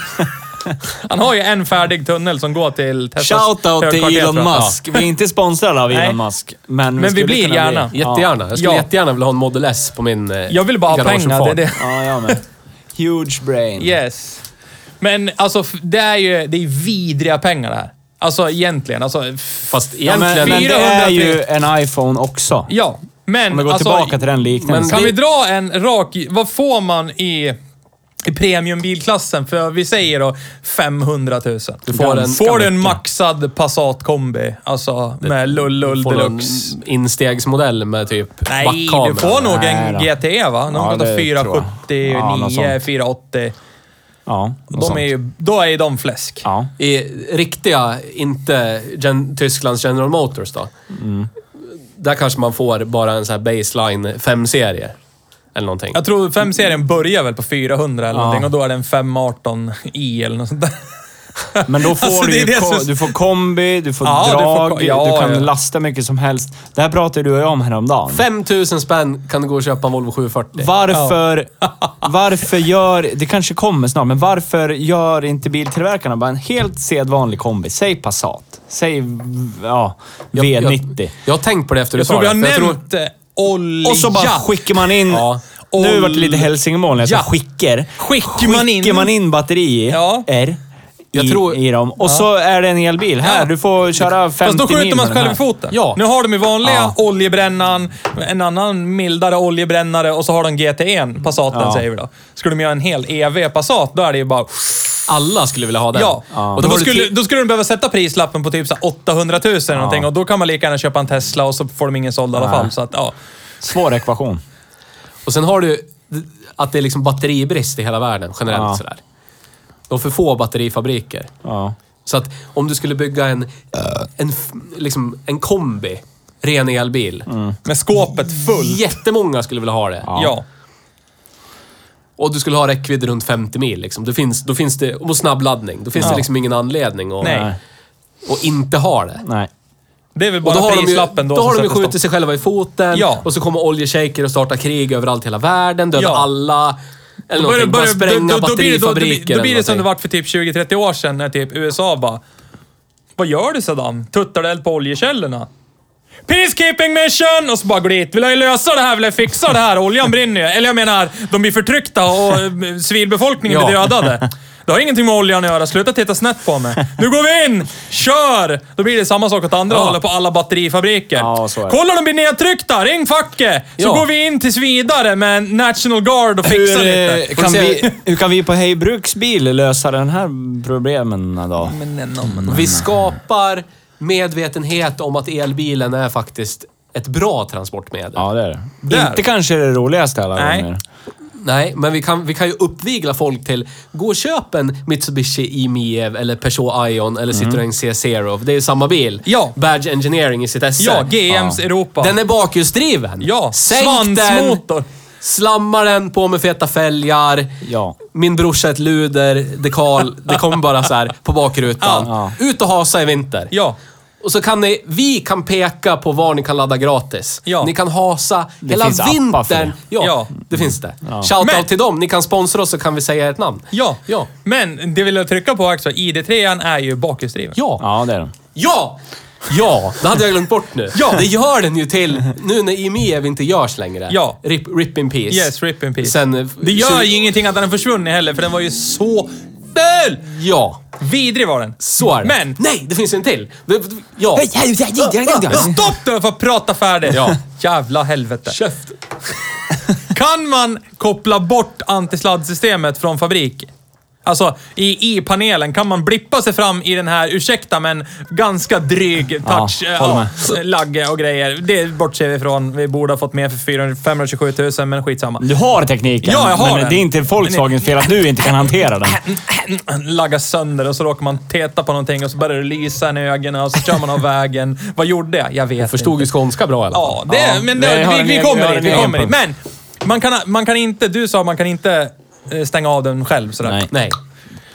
Han har ju en färdig tunnel som går till Teslas Shoutout till högkvarter, Elon tror jag. Musk. Vi är inte sponsrade av Nej. Elon Musk. Men vi, Men vi skulle blir kunna gärna. Bli. Jättegärna. Jag skulle Ja. jättegärna vilja ha en Model S på min eh, Ja. Jag vill bara ha pengar, det är garageuppfart. det. Ja, jag med. Huge brain. Yes. Men alltså, f- det är ju det är vidriga pengar det här. Alltså egentligen. Alltså, Fast Ja, men, egentligen... men det 400 är ju en iPhone också. ja, men Om vi går alltså, tillbaka till den liknelsen. Kan Det- vi dra en rak... Vad får man i, i premiumbilklassen? För vi säger då 500 000. Du får en- får du en maxad Passat kombi. Alltså med lull-lull Får någon deluxe. instegsmodell med typ Nej, backkamera. du får nog Nej en då. GT va? Ja, Någon det kostar tror jag. 470, Ja, något 9, sånt. 480. Ja, något De sånt. är ju, då är ju de fläsk. Ja. I riktiga, inte gen, Tysklands General Motors då. Där kanske man får bara en sån här baseline 5-serie. Eller någonting. Jag tror 5-serien börjar väl på 400 eller Ja. någonting och då är det en 518i eller något sånt där. Men då får Alltså, du det ju är det ko- som- du får kombi, du får Ja, du får drag, ko- du, ja, kan ja. lasta mycket som helst. Det här pratade du och jag om häromdagen. 5000 spänn kan du gå och köpa en Volvo 740. Varför, varför gör, det kanske kommer snart, men varför gör inte biltillverkarna bara en helt sedvanlig kombi? Säg Passat, säg ja, Jag- jag- V90. Jag har tänkt på det efter du Jag tror sa vi det. har för jag tror- nämnt eh, olja. Och så bara skickar man in... Ja. Nu vart det lite hälsingemål när jag sa Ja. skickar. Skickar man in- Skickar man in batterier Ja. R Jag i, tror- i dem. Och så är det en elbil. Här, Ja. du får köra 50 Fast då skjuter mil man med sig den själv här. i foten. Ja. Nu har de ju vanliga oljebrännan, en annan mildare oljebrännare och så har de GT1, Passaten Ja. säger vi då. Skulle de göra en hel EV Passat, då är det ju bara... Alla skulle vilja ha den. Ja. Och Och då, då, har du skulle, ti- då skulle de behöva sätta prislappen på typ så här 800 000 eller någonting och då kan man lika gärna köpa en Tesla och så får de ingen såld i alla Nej. fall. Så att, ja. Svår ekvation. Och sen har du att det är liksom batteribrist i hela världen generellt Ja. sådär. De har för få batterifabriker. Ja. Så att om du skulle bygga en, en, f- liksom, en kombi, ren elbil. Med skåpet fullt. Jättemånga skulle vilja ha det. Ja. Och du skulle ha räckvidd runt 50 mil. Liksom. Då finns, då finns det, och snabbladdning. Då finns det liksom ingen anledning att Nej. och inte ha det. Nej. Det är väl Och bara då har de ju, prislappen då då, har som de ju sätter skjutit stopp. sig själva i foten Ja. och så kommer oljeshejker och startar krig överallt i hela världen, dödar Ja. alla. Börjar- Eller någonting. Bara börjar- spränga då- då blir det- då- då blir- batterifabriker Då blir det som det eller någonting. var för typ 20-30 år sedan när typ USA bara... Vad gör du Saddam? Tuttar du eld på oljekällorna? Peacekeeping mission! Och så bara går dit. Vill jag lösa det här? Vill jag fixa det här? Oljan brinner ju. Eller jag menar, de blir förtryckta och eh, civilbefolkningen blir Ja. dödade. Det har ingenting med oljan att göra. Sluta titta snett på mig. Nu går vi in! Kör! Då blir det samma sak åt andra Ja. hållet på alla batterifabriker. Ja, så är det. Kolla, de blir nedtryckta! Ring facket! Så Ja. går vi in tills vidare med en National Guard och fixar Hur, lite. eh, kan Får vi vi, se. hur kan vi på Hej Bruksbil lösa den här problemen då? Vi skapar medvetenhet om att elbilen är faktiskt ett bra transportmedel. Ja, det är det. Där. Inte kanske det roligaste alla Nej. gånger. Nej, men vi kan, vi kan ju uppvigla folk till gå och köp en Mitsubishi E i-Miev eller Peugeot Ion eller Citroën C0. Det är ju samma bil. Mm. Ja. Badge Engineering i sitt esse. Ja, GMs Europa. Den är bakhjulsdriven. Ja, Sänk svansmotor. den, Slamma den på med feta fälgar. Ja. Min brorsa är ett luder, dekal. Det kommer bara så här på bakrutan. Ja. Ut och hasa i vinter. Ja. Och så kan ni, vi kan peka på var ni kan ladda gratis. Ja. Ni kan hasa Det hela finns appar för vintern. det. Ja, Ja. det finns det. Shoutout Men- till dem. Ni kan sponsra oss så kan vi säga ert namn. Ja. Ja. men det vill jag trycka på också. ID3 är ju bakhjulsdriven. Ja. Ja. Ja, det är det. Ja. det hade jag glömt bort nu. Ja. Det gör den ju till nu när E IMEV inte görs längre. Ja. Rip, rip in peace. Yes, rip in peace. Sen, eh, det gör tjugo- ju ingenting att den har försvunnit heller, för den var ju så ful! Ja, Vidrig var den. så är det. Men- Nej, det finns ju en till. Det- det- Ja. Stopp då för att prata färdigt! Ja. Jävla helvete. Käft. Kan man koppla bort antisladdsystemet från fabrik? Alltså, i i-panelen, kan man blippa sig fram i den här, ursäkta men, ganska dryg touch, Ja, håller eh, med. ja, lagge och grejer. Det bortser vi ifrån. Vi borde ha fått med för 400 527 000, men skitsamma. Du har tekniken, Ja, jag har men den. det är inte Volkswagens fel att du inte kan hantera den. lagga sönder och så råkar man teta på någonting och så börjar det lysa i ögonen och så kör man av vägen. Vad gjorde jag? Jag vet Förstod inte. ju skånska bra i alla fall. Ja, det, Ja, men vi det, har vi, en vi egen- vi har kommer dit. en Vi egen kommer dit. punkt. Men man kan, man kan inte, du sa man kan inte eh, stänga av den själv sådär. Nej. Nej.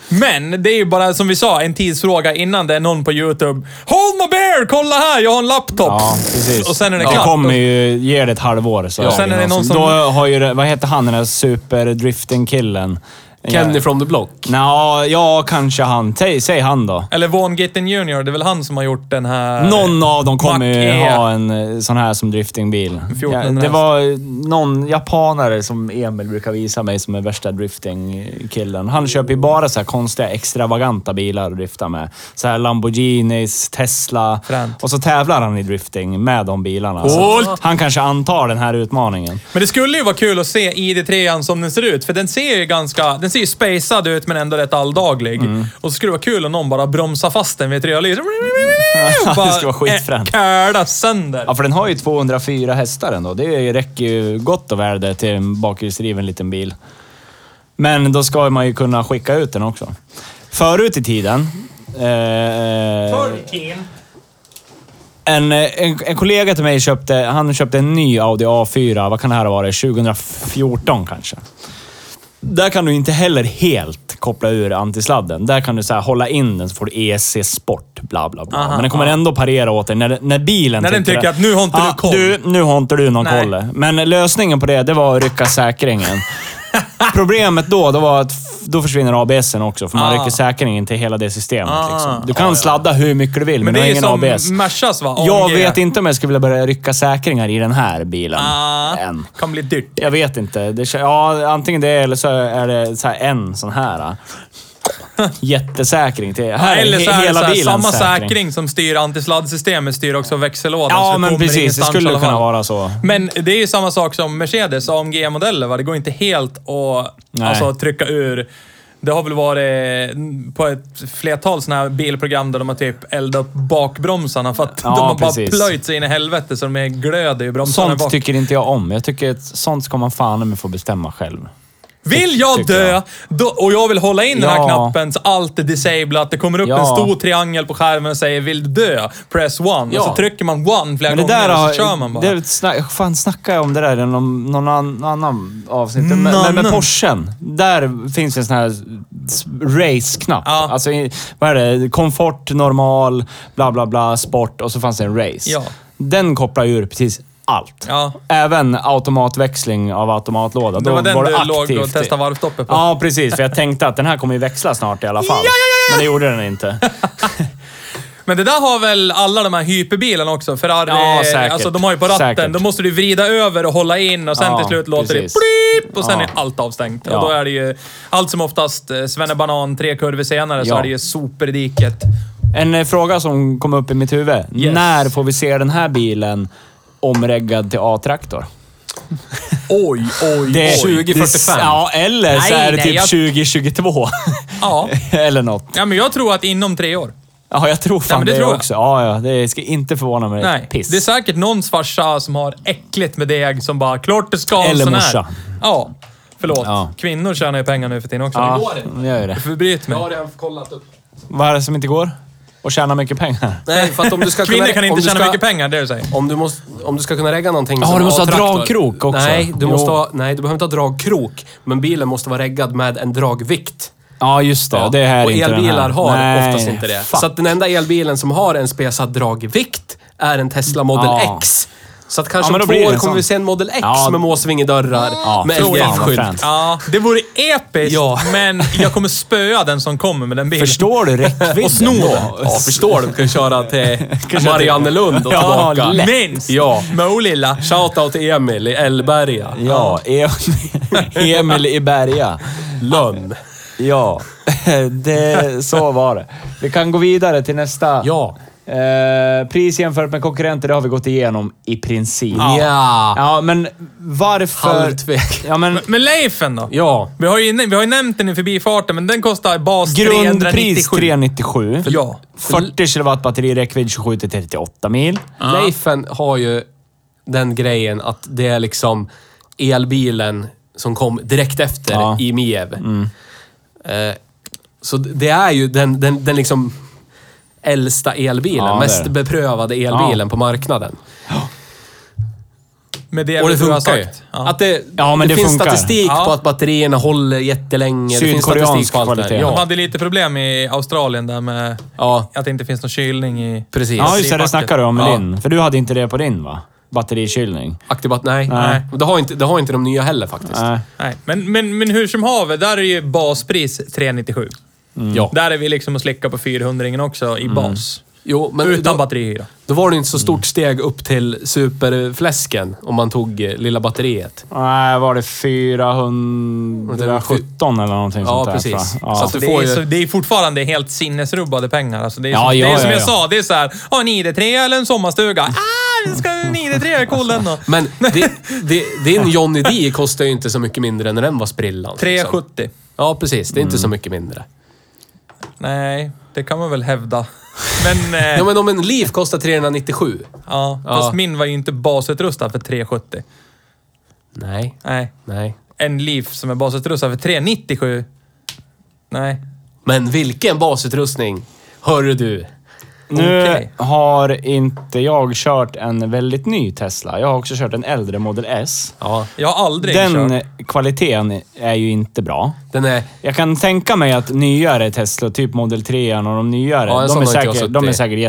Men det är ju bara som vi sa, en tidsfråga innan det är någon på YouTube. Hold my bear! Kolla här, jag har en laptop! Ja, precis. Och sen är det det klart. kommer ju, ger det ett halvår så sen är det någon som- Då har ju, det- vad heter han den där superdrifting-killen? Kenny from the block. Nå, ja, kanske han. Säg, säg han då. Eller Vaughn Gittin Jr, det är väl han som har gjort den här... Någon av dem kommer ju Mac-E. ha en eh, sån här som driftingbil. Ja, 1400 det var eh, någon japanare som Emil brukar visa mig som är värsta driftingkillen. Han köper ju bara så här konstiga, extravaganta bilar att drifta med. Så här Lamborghinis, Tesla. Fränt. Och så tävlar han i drifting med de bilarna. Så Coolt! han kanske antar den här utmaningen. Men det skulle ju vara kul att se ID3 som den ser ut, för den ser ju ganska... Den ser ju spacad ut men ändå rätt alldaglig. Mm. Och så skulle det vara kul om någon bara bromsar fast den vid ett rödljus. det Bara, skulle vara skitfränt. eh, Köla sönder. Ja, för den har ju 204 hästar ändå. Det räcker ju gott och väl det till en bakhjulsdriven liten bil. Men då ska man ju kunna skicka ut den också. Förut i tiden... Eh, en, eh, en, en kollega till mig köpte, han köpte en ny Audi A4, vad kan det här ha varit? 2014 kanske. Där kan du inte heller helt koppla ur antisladden. Där kan du så här hålla in den så får du EC Sport, bla bla bla. Men den kommer ändå parera åt dig när, när bilen När den tycker att nu har inte du koll. Du, nu har inte du någon Nej. koll. Men lösningen på det, det var att rycka säkringen. Problemet då, då var att f- då försvinner ABSen också, för Ah. man rycker säkringen till hela det systemet. Liksom. Du kan sladda hur mycket du vill, Men men, du det har är ju som ingen ABS. Mercas va? Jag AMG. vet inte om jag skulle vilja börja rycka säkringar i den här bilen. Ah, Än. kan bli dyrt. Jag vet inte. Det, kän- ja, antingen det eller så är det så här en sån här. ah. Jättesäkring. Till, här Eller så är det hela så här, bilens samma säkring. som styr antisladdsystemet styr också växellådan. så Ja, det men kommer precis. Det ingenstans i skulle alla kunna fall. vara så. Men det är ju samma sak som Mercedes AMG-modeller. Va? Det går inte helt att Nej. alltså, trycka ur. Det har väl varit på ett flertal sådana här bilprogram där de har typ eldat upp bakbromsarna för att Ja, de har precis. bara plöjt sig in i helvete så de är glöder i bromsarna Sånt bak. tycker inte jag om. Jag tycker att sånt ska man fan i mig få bestämma själv. Vill jag tycker dö jag. Då, och jag vill hålla in den Ja. här knappen så allt är disablat. Det kommer upp Ja. en stor triangel på skärmen och säger “Vill du dö? Press one”. Ja. Och så trycker man one flera Men det gånger där och har... så kör man bara. Det, är ett snack, fan, snackade jag om det där i någon, någon an, annan avsnitt. Men, men med Nannen. Porschen. Där finns en sån här s- race-knapp. Ja. Alltså, i- vad är det? Komfort, normal, bla bla bla, sport och så fanns det en race. Ja. Den kopplar ju ur precis allt. Ja. Även automatväxling av automatlåda. Det var den du låg och aktivt. testade varvstoppet på. Ja, precis. För jag tänkte att den här kommer ju växla snart i alla fall. Men det gjorde den inte. Men det där har väl alla de här hyperbilarna också? Ferrari, Ja, säkert. alltså de har ju på ratten, Säkert. då måste du vrida över och hålla in och sen Ja, till slut låter precis. det blip och sen Ja. är allt avstängt. Ja. Och då är det ju allt som oftast eh, svennebanan, tre kurvor senare så Ja. är det ju sopor i diket. En eh, fråga som kom upp i mitt huvud. När får vi se den här bilen omreggad till A-traktor? Oj, oj, Det- oj. 2045. det- Ja, eller så Nej, är det nej, typ jag- 2022. Ja. eller något. ja, men jag tror att inom tre år. Ja, jag tror fan men det, det tror jag. också. Ja, ja, det ska inte förvåna mig Nej, ett piss. det är säkert någons farsa som har äckligt med deg som bara, klart du ska ha en Eller sån här. morsa. Ja, förlåt. Ja. Kvinnor tjänar ju pengar nu för tiden också. ja, går inte. det gör ju det. Förbryt mig. Jag har redan kollat upp. Vad är det som inte går? Och tjäna mycket pengar? Nej, för att om du ska Kvinnor kunna, kan om inte du tjäna ska, mycket pengar, det är det du säger. Om du, måste, om du ska kunna regga någonting Ja, som du måste ha A-traktor. dragkrok också. Nej du, Jo. måste ha, nej, du behöver inte ha dragkrok. Men bilen måste vara reggad med en dragvikt. Ja, just det. Det här är och inte den elbilar här. har Nej, oftast inte det. fuck. Så att den enda elbilen som har en spesad dragvikt är en Tesla Model Ja. X. Så att Ja, kanske men då om blir det två år en kommer sån. vi se en Model X Ja. med Måsvingedörrar, Ja, med fan, vad LGF-skylt. fränt. Ja, det vore episkt, Ja. men jag kommer spöa den som kommer med den bilen. Förstår du räckvidden? Och snor då? den. Ja, förstår du. Du kan köra till till- Mariannelund och Ja, tillbaka. lätt. Minst! Ja. Målilla. Shoutout till Emil i Ällberga. Ja, E- Emil i Berga. Lönn. Ja, det, så var det. Vi kan gå vidare till nästa. Ja. Eh, pris jämfört med konkurrenter, det har vi gått igenom i princip. Ja. Ja, men varför... Halvtvek. Ja, men Men Leifen då? Ja. Vi har ju, nä- vi har ju nämnt den i förbifarten, men den kostar bas grundpris 397. 397. Ja. 40 kilowatt batteri, räckvidd 27 till 38 mil. Leifen har ju den grejen att det är liksom elbilen som kom direkt efter Ja. Mm. i Miev. Eh, så det är ju den, den, den liksom äldsta elbilen, Ja, det är mest det. beprövade elbilen på marknaden. Med det, Och det du har funkar ju. sagt. Ja. Att det, Ja, men det finns funkar. statistik Ja. på att batterierna håller jättelänge. Det finns Sydkoreansk statistik på allt det kvalitet. där. De Ja. hade lite problem i Australien där med ja, att det inte finns någon kylning i... precis. Ja, just det. Det snackade du om med Ja. din. För du hade inte det på din, va? batterikylning. Aktibat, nej. Nej. nej. Det, har inte, det har inte de nya heller faktiskt. Nej. Nej, men, men, men hur som haver, där är ju baspris 397. Mm. Ja. Där är vi liksom och slickar på 400 också i bas. Jo, Mm. men Utan då, batterihyra. då var det inte så stort steg upp till superfläsken om man tog eh, lilla batteriet. Nej, var det 417 eller någonting Ja, sånt där? precis. tror jag. Så Ja. att- Du Alltså, Det får är, ju- så, det är fortfarande helt sinnesrubbade pengar. Alltså det är, Ja, som, ja, det är ja, som jag ja. sa, det är så här, ha en ID3 eller en sommarstuga. Ah, vi ska ha en ID3, är cool den då. Men di- di- din Johnny D kostar ju inte så mycket mindre än när den var sprillan. 370. Ja, precis. Det är inte så mycket mindre. Nej, det kan man väl hävda. Men, eh, Ja, men om en Leaf kostar 397. ja, Ja. fast min var ju inte basutrustad för 370. Nej, Nej. nej. En Leaf som är basutrustad för 397. Nej. Men vilken basutrustning! Hörru du. Nu Okej. har inte jag kört en väldigt ny Tesla. Jag har också kört en äldre Model S. Ja, Jag har aldrig Den kört. kvaliteten är ju inte bra. den är... Jag kan tänka mig att nyare Tesla, typ Model 3 och de nyare, Ja, en sån de, är har inte jag säkert, suttit de är i. säkert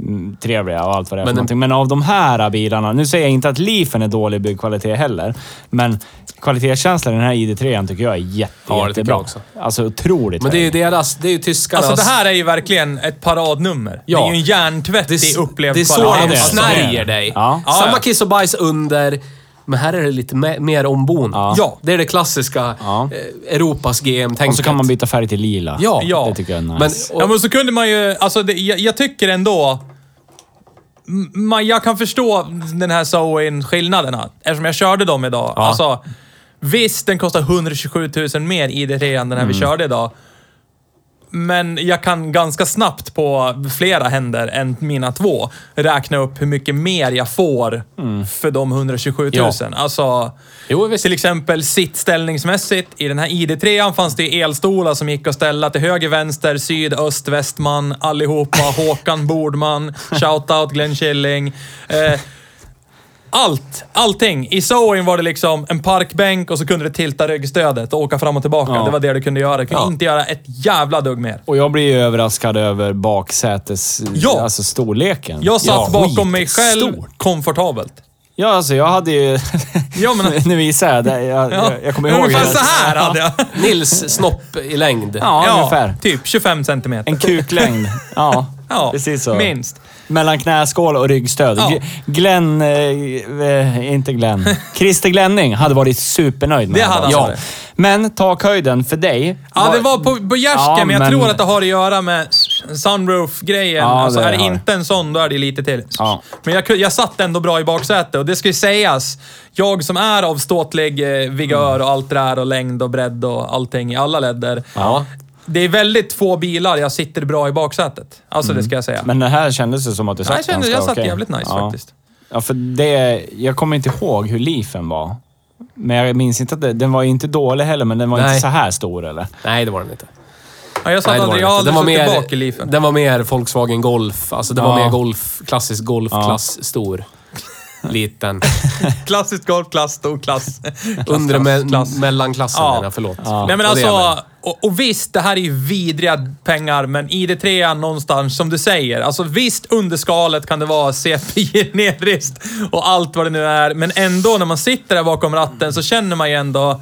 jättetrevliga och allt vad det är men, Men den- någonting. men av de här bilarna, nu säger jag inte att Leafen är dålig byggkvalitet heller, men kvalitetskänslan i den här ID3 tycker jag är jätte, Ja, det tycker jättebra. jag också. Alltså otroligt Men det är ju hög. deras... Det är ju tyskarnas... Alltså det här är ju verkligen ett paradnummer. Ja. Det är ju en hjärntvätt Det i är, upplevd det är så kvalitet. de Alltså, det snärjer är det. dig. Ja. Ja, Samma ja. kiss och bajs under, men här är det lite me- mer ombonat. Ja. Det är det klassiska Ja. eh, Europas GM-tänket. Och så kan man byta färg till lila. Ja. Ja. Det tycker jag är nice. Men, Ja, och, men så kunde man ju... Alltså, det, jag, jag tycker ändå... m- Man, jag kan förstå den här Zoen-skillnaderna, eftersom jag körde dem idag. Alltså, visst, den kostar 127 000 mer i det än den här vi körde idag. Men jag kan ganska snabbt på flera händer än mina två räkna upp hur mycket mer jag får för de 127 000. Ja. Alltså, jo, visst. till exempel sittställningsmässigt. I den här ID3 fanns det ju elstolar som gick att ställa till höger, vänster, syd, öst, västman, allihopa. Håkan Bordman, shoutout Glenn Killing. Eh, allt, allting. I Zoen var det liksom en parkbänk och så kunde du tilta ryggstödet och åka fram och tillbaka. Ja. Det var det du kunde göra. Du kunde inte göra ett jävla dugg mer. Och jag blir ju överraskad över baksätes... Ja. Alltså storleken. Jag satt Ja, bakom mig själv, skitstort. komfortabelt. Ja, alltså jag hade ju... Ja, men- nu visar jag. Det, jag, Ja. jag, jag kommer ihåg... Ungefär det. så här hade jag. Nils snopp i längd. Ja, ungefär. typ 25 centimeter. En kuklängd. Ja, Ja, precis så. minst. Mellan knäskål och ryggstöd. Ja. G- Glenn... Eh, eh, inte Glenn. Christer Glenning hade varit supernöjd med Det hade han ja. varit. Men takhöjden för dig... Ja, det var på, på gärsken, Ja, men jag men- tror att det har att göra med sunroof-grejen. Ja, alltså, det är det har det. inte en sån, då är det lite till. Ja. Men jag, ku- jag satt ändå bra i baksätet och det ska ju sägas. Jag som är av ståtlig eh, vigör och allt det där och längd och bredd och allting i alla ledder. Ja. Det är väldigt få bilar jag sitter bra i baksätet. Alltså det ska jag säga. Mm. Men det här kändes ju som att du satt jag kände, ganska jag satt okej. jävligt nice ja. faktiskt. Ja, för det... Jag kommer inte ihåg hur lifen var. Men jag minns inte att det, den var ju inte dålig heller, men den var Nej. inte så här stor eller? Nej, det var den inte. Ja, jag satt Nej, det var aldrig, jag har den aldrig var suttit mer, bak i Leafen. Den var mer Volkswagen Golf. Alltså det var Ja. mer golf, klassisk golfklass, stor. Liten. Klassiskt golf, klass, stor klass. Undre me klass. mellanklassen Ja. menar jag, förlåt. Nej men Och det är väl- alltså, och, och visst, det här är ju vidriga pengar, men ID3 an någonstans, som du säger. Alltså visst, under skalet kan det vara CPI nedrist och allt vad det nu är, men ändå när man sitter där bakom ratten så känner man ju ändå...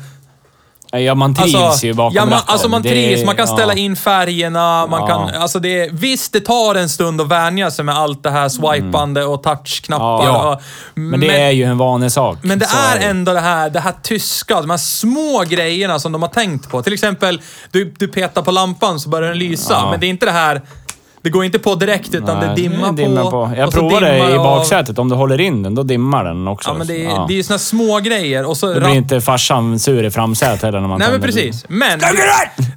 Ja, man trivs ju bakom Alltså, ja, man, ratten. Alltså man Det- trivs, man kan ja. ställa in färgerna, man Ja. kan... Alltså det, är- visst, det tar en stund att vänja sig med allt det här swipande och touchknappar. Ja. Och, Men det är ju en vanesak. men det Så är ändå det här, det här tyska, de här små grejerna som de har tänkt på. Till exempel, du, du petar på lampan så börjar den lysa, men det är inte det här... Det går inte på direkt, utan Nej, det dimmar, på. alltså, Jag och så provar det dimmar i av- baksätet. Om du håller in den, då dimmar den också. liksom. Ja, men det, är- Ja. det är ju såna små grejer och så... Då blir ratt- inte farsan sur i framsätet heller när man Nej, men tänder den. precis. Men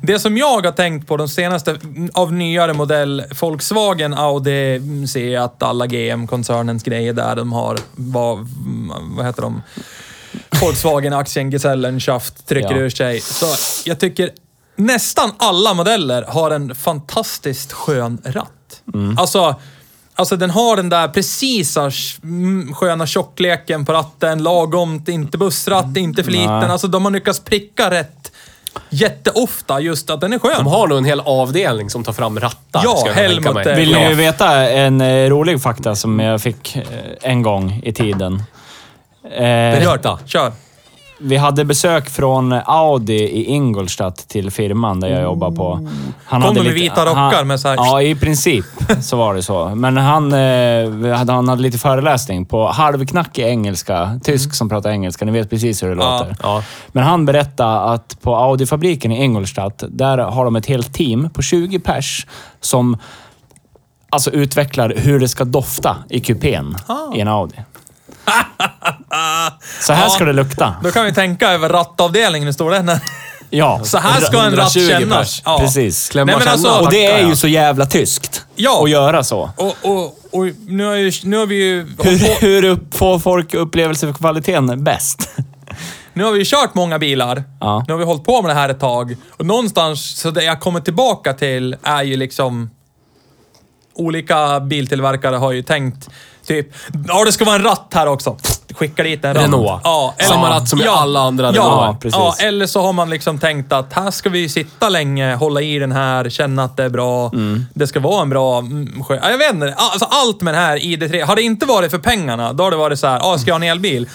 det som jag har tänkt på de senaste av nyare modell Volkswagen, Audi, mm, ser jag att alla GM-koncernens grejer där de har, vad, mm, vad heter de? Volkswagen-aktien, Gesellen, Schaft trycker Ja. ur sig. Så jag tycker nästan alla modeller har en fantastiskt skön ratt. Alltså, alltså den har den där precisa mm, sköna Mm. tjockleken på ratten, lagom, inte bussratt, inte för liten. Alltså de har lyckats pricka rätt jätteofta just att den är skön. De har nog en hel avdelning som tar fram rattar. Ja, ska jag kunna tänka Helmut mig. är- Vill Ja. ni veta en eh, rolig fakta som jag fick eh, en gång i tiden? Eh, Berätta. Kör. vi hade besök från Audi i Ingolstadt till firman där jag jobbar på. Han Mm. Kom de med vita rockar med så här- Ja, i princip så var det så. Men han, eh, vi hade- han hade lite föreläsning på halvknackig engelska. Tysk som pratar engelska. Ni vet precis hur det Mm. Ja, låter. Men han berättade att på Audi-fabriken i Ingolstadt, där har de ett helt team på 20 pers som alltså, utvecklar hur det ska dofta i kupén Ah. i en Audi. Så här Ja. ska det lukta. Då kan vi tänka över rattavdelningen, hur stor den är. Ja. Så här ska en ratt 120 kännas. pers. Ja. Precis. Klämma Nej, men känna, alltså- Och det tacka, är ja. ju så jävla tyskt. Ja. Att göra så. Och, och, och nu, har ju, nu har vi ju... Hur, hur upp, får folk upplevelse för kvaliteten bäst? Nu har vi ju kört många bilar. Ja. Nu har vi hållit på med det här ett tag. Och någonstans, så det jag kommer tillbaka till är ju liksom... Olika biltillverkare har ju tänkt typ, ja det ska vara en ratt här också. Skicka dit en ratt. Renault. Ja, Samma ratt som i alla andra ja, Renault. precis. precis. ja, eller så har man liksom tänkt att här ska vi ju sitta länge, hålla i den här, känna att det är bra. Det ska vara en bra mm, sjö. Ja, Jag vet inte. Alltså, allt med den här ID3. Har det inte varit för pengarna, då har det varit så här, ah, ska jag ha en elbil?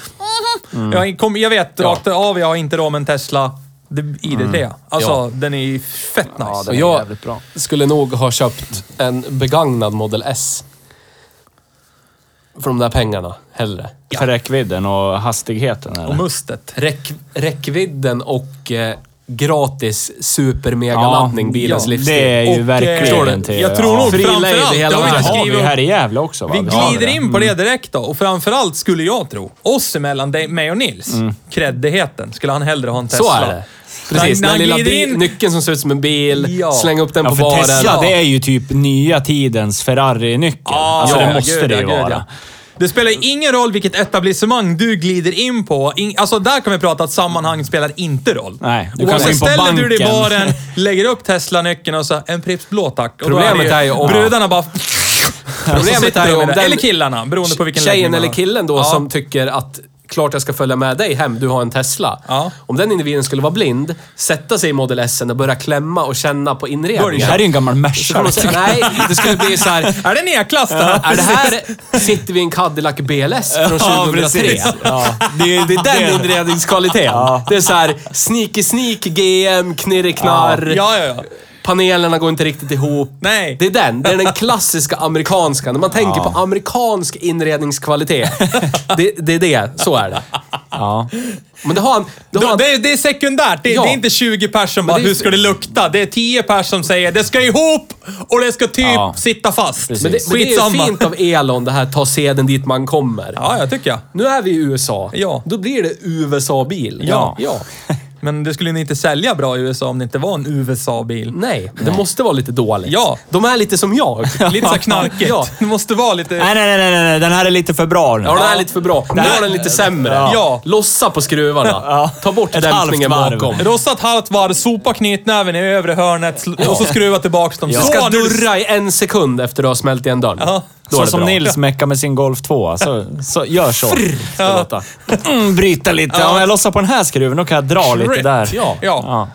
Mhm. Jag, kom, jag vet rakt av, jag har inte råd med en Tesla. Det, ID3. Alltså, Ja. den är ju fett nice. Ja, Och den är jag jävligt bra. skulle nog ha köpt en begagnad Model S. För de där pengarna, hellre. För räckvidden och hastigheten. Och Eller? mustet. Räck, räckvidden och eh, gratis super-mega-laddning, Ja, bilens ja, livsstil. Det är Och, ju eh, förstår du? verkligen till... Jag tror ja. nog Fri framförallt, lejd i hela det har vi Det inte världen. har vi skrivit om. här i Gävle också va? Vi har det. glider in på det direkt då. Och framförallt skulle jag tro, oss emellan dig, mig och Nils, kreddigheten. Skulle han hellre ha en Tesla. Så är det. Precis, När- den när lilla han glider bil, in- nyckeln som ser ut som en bil, Ja. släng upp den Ja, på för baren. Tesla, det är ju typ nya tidens Ferrari-nyckel. Ja, alltså ja, det måste gud, det ja, ju gud, vara. ja. Det spelar ju ingen roll vilket etablissemang du glider in på. In, alltså där kan vi prata att sammanhang spelar inte roll. Nej, du du kan gå Oavsett, in på ställer du dig i banken. baren, lägger upp Tesla-nyckeln och så en Pripps blå tack. Och då Problemet det är ju om- Brudarna bara... Problemet Problemet är ju om den- Eller killarna, beroende på vilken läggning Tjejen man eller har. killen då Ja. som tycker att klart jag ska följa med dig hem, du har en Tesla. Ja. Om den individen skulle vara blind, sätta sig i Model S och börja klämma och känna på Det inredningen. här är ju en gammal Så Merca. kommer liksom. de säga, Nej, det skulle bli så här. Är det en E-klass där? Är det här, sitter vi i en Cadillac BLS från 2003? Ja. Det är, det är den inredningskvaliteten. Ja. Det är så här, sneaky sneak GM, knirreknarr. Ja, ja, ja. Panelerna går inte riktigt ihop. Nej. Det är den. Det är den klassiska amerikanska. När man tänker på amerikansk inredningskvalitet. det, det är det. Så är det. Ja. Men det har han... Det har Då, han det, är- det är sekundärt. Det, Ja. det är inte 20 personer som bara, det är- hur ska det lukta? Det är 10 personer som säger, det ska ihop och det ska typ Ja. sitta fast. Precis. men det, men det är ju fint av Elon det här, ta seden dit man kommer. Ja, jag tycker jag. Nu är vi i USA. Ja. Då blir det USA-bil. Ja. ja. Men det skulle ni inte sälja bra i USA om det inte var en USA-bil. Nej, det måste vara lite dåligt. Ja. De är lite som jag. Lite så här knarkigt. Ja. Det måste vara lite... Nej, nej, nej, nej, nej. Den här är lite för bra nu. Ja, den är lite för bra. Nu var den lite sämre. Ja. Ja. Lossa på skruvarna. Ja. Ta bort Ett dämpningen halvt varv. bakom. Rossa ett halvt varv, sopa knytnäven i övre hörnet sl- och så skruva tillbaka dem. Du Så, ska nu- durra i en sekund efter du har smält igen dörren. Ja. Då är Så det som bra. Nils meckar med sin Golf 2. Så, så gör så. Ska låta. Mm, bryta lite. Ja. Om jag lossar på den här skruven, då kan jag dra lite Shit, där. ja. Ja.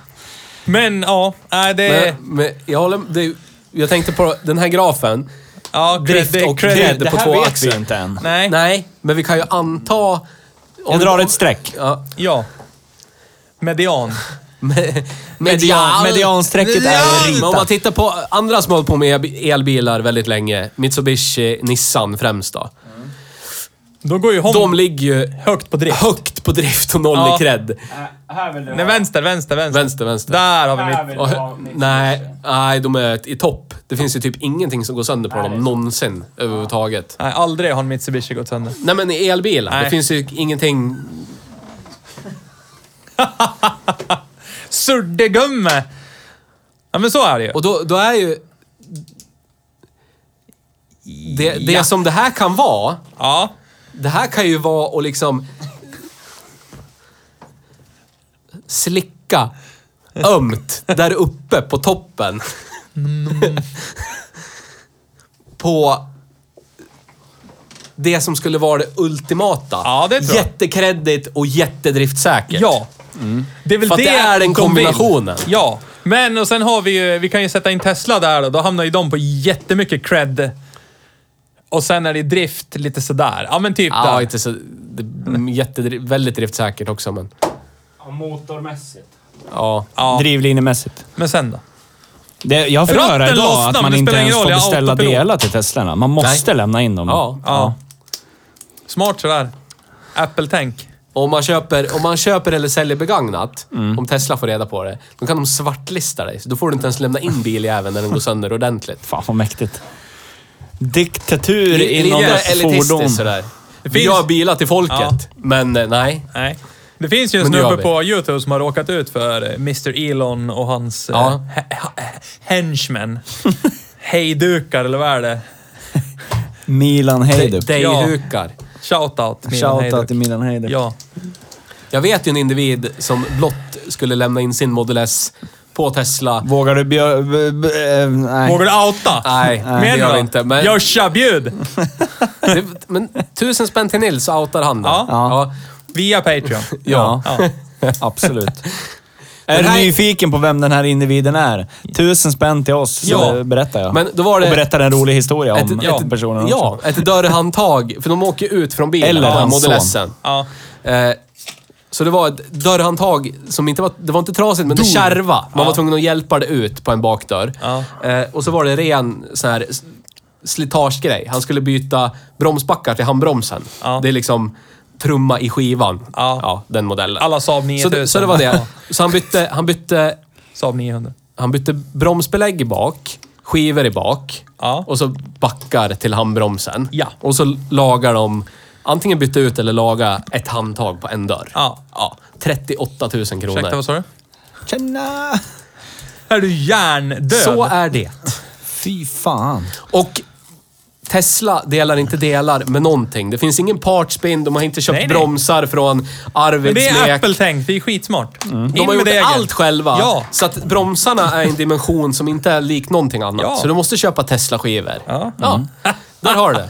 Men ja, nej, det Men, är... men jag, håller, det, jag tänkte på den här grafen. Ja, cred- Drift det är och cred- cred. Det på här två vet axlar. vi inte än. Nej. Nej, men vi kan ju anta... om Jag vi- drar ett streck. Ja. Ja. Median. Med- Median, medianstrecket är Men ritat. om man tittar på andra som har hållit på med elbilar väldigt länge. Mitsubishi, Nissan främst då. Då går ju Honda De ligger ju högt på drift. högt på drift och noll Ja. i cred. Nej, vänster, vänster, vänster. Vänster, vänster. Där har vi mitt. Och, hö- nej, nej, de är i topp. Det finns ju typ ingenting som går sönder på dem någonsin överhuvudtaget. Nej, aldrig har en Mitsubishi gått sönder. Nej men i elbilar, Nej. det finns ju ingenting... Surdegumme! Ja, men så är det ju. Och då, då är ju... Det, det Ja. som det här kan vara, Ja. det här kan ju vara att liksom... Slicka ömt där uppe på toppen. på det som skulle vara det ultimata. Ja, det tror jag. Jättekreddigt och jättedriftsäkert. Ja. Det är väl Mm. För att det är de den kombinationen. Vill. Ja, men och sen har vi ju, vi kan ju sätta in Tesla där då. Då hamnar ju de på jättemycket cred. Och sen är det drift lite sådär. Ja, men typ Ja, där. inte så... Det är jätte, väldigt driftsäkert också, men... Motormässigt. Ja. Ja. Drivlinemässigt. Men sen då? Det, jag får Ratten höra lossnar, idag att men man det inte spelar ens ingen får roll, jag beställa autopilot. delar till Teslorna. Man måste lämna in dem. ja. Ja. Smart sådär. Apple-tänk. Om man, köper, om man köper eller säljer begagnat, om Tesla får reda på det, då kan de svartlista dig. Så då får du inte ens lämna in biljäveln när den går sönder ordentligt. Fan vad mäktigt. Diktatur Det är inom lite fordon. elitistiskt sådär. Vi finns- har bilar till folket, Ja. men eh, nej. Nej. Det finns ju en Men det gör snubbe vi. på YouTube som har råkat ut för eh, Mr Elon och hans eh, Ja. he- he- henchmen. Hejdukar eller vad är det? Milan Hejduk. Dejhukar. Shoutout. Milan Shoutout Hejduk. till Milan Hejduk. Ja. Jag vet ju en individ som blott skulle lämna in sin Model S på Tesla. Vågar du björ... b- b- eh, nej. Vågar du outa? Nej, det Menar gör du? vi inte. Men, Joscha, bjud! det, men tusen spänn till Nils så outar han det. Ja. Ja. Via Patreon. Ja, Ja. absolut. Är Den här- du nyfiken på vem den här individen är? Tusen spänn till oss, Ja. så eh, berättar jag. Men då var det- Och berättar en rolig historia om ja, personen Ja, också. ett dörrhandtag. För de åker ut från bilen. Eller den här hans Model son. S'en. Ja. Eh, så det var ett dörrhandtag som inte var... Det var inte trasigt, men det kärva. Man var tvungen att hjälpa det ut på en bakdörr. Ja. Eh, och så var det ren sån här s- slitagegrej. Han skulle byta bromsbackar till handbromsen. Ja. Det är liksom trumma i skivan. Ja. den modellen. Alla Saab 9000. så, det, så det var det. Så han bytte, han bytte Saab 900. han bytte bromsbelägg i bak, skivor i bak Ja. och så backar till handbromsen. Ja. Och så lagar de, antingen bytte ut eller laga ett handtag på en dörr. Ja. 38 000 kronor. Ursäkta, vad sa du? Tjena! Är du hjärndöd? så är det. Fy fan. Och Tesla delar inte delar med någonting. Det finns ingen partspin, de har inte köpt Nej, nej. bromsar från Men Arvids det är Lek. Apple-tänk. Det är skitsmart. Mm. De har gjort allt själva. Ja. Så att bromsarna är en dimension som inte är lik någonting annat. Ja. Så du måste köpa Tesla-skivor. Ja. Mm. Där har du det.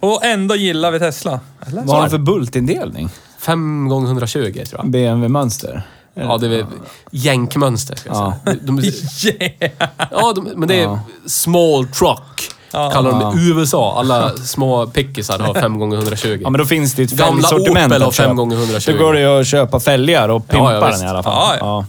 Och ändå gillar vi Tesla. Eller? Vad har de för bultindelning? 5 gånger 120 tror jag. BMW-mönster? Ja, det är väl jänkmönster ska jag Ja. säga. De, de, Yeah. ja, de, men det är Ja. small truck. Kallar de det i USA. Alla små pickisar har 5 gånger 120 Ja, men då finns det ju ett Gamla fälgsortiment Opel har att köpa. fem gånger 120. Då går det ju att köpa fälgar och pimpa ja, visst. den i alla fall. Ja, ja.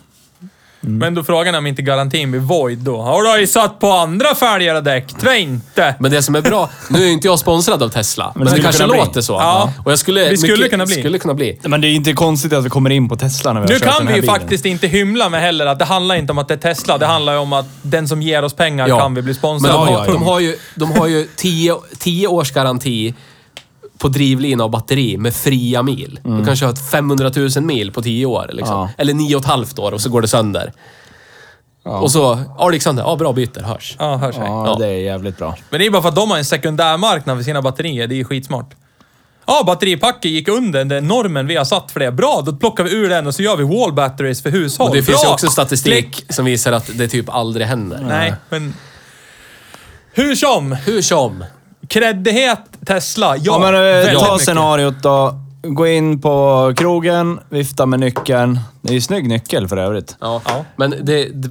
Men då frågan är om inte garantin blir void då. Har du har ju satt på andra fälgar och däck? Tror jag inte. Men det som är bra, nu är inte jag sponsrad av Tesla, men, det skulle kanske kunna bli. låter så. Ja. Och jag skulle, Vi skulle kunna bli. skulle kunna bli. Ja. Men det är ju inte konstigt att vi kommer in på Tesla när vi har Nu köpt kan den vi här ju bilen. faktiskt inte hymla med heller att det handlar inte om att det är Tesla. Det handlar ju om att den som ger oss pengar Ja. kan vi bli Men sponsrade de, av. har, de har ju, de har ju tio, tio års garanti på drivlina och batteri med fria mil. Mm. Du kan köra ett 500 000 mil på tio år. Liksom. Ja. Eller nio och ett halvt år och så går det sönder. Och så, ja Alexander, ja bra byter, hörs. Ja, hör sig. Ja, det är jävligt bra. Men det är bara för att de har en sekundärmarknad för sina batterier. Det är ju skitsmart. Ja, batteripacket gick under den normen vi har satt för det. Bra, då plockar vi ur den och så gör vi wall batteries för hushåll. Och det finns Bra. ju också statistik Klick. som visar att det typ aldrig händer. Nej, men... Hur som! Hur som. Kreddighet Tesla. Ja, Ja, men eh, väldigt ta mycket. scenariot då. Gå in på krogen, vifta med nyckeln. Det är ju snygg nyckel för övrigt. Ja. Men det, det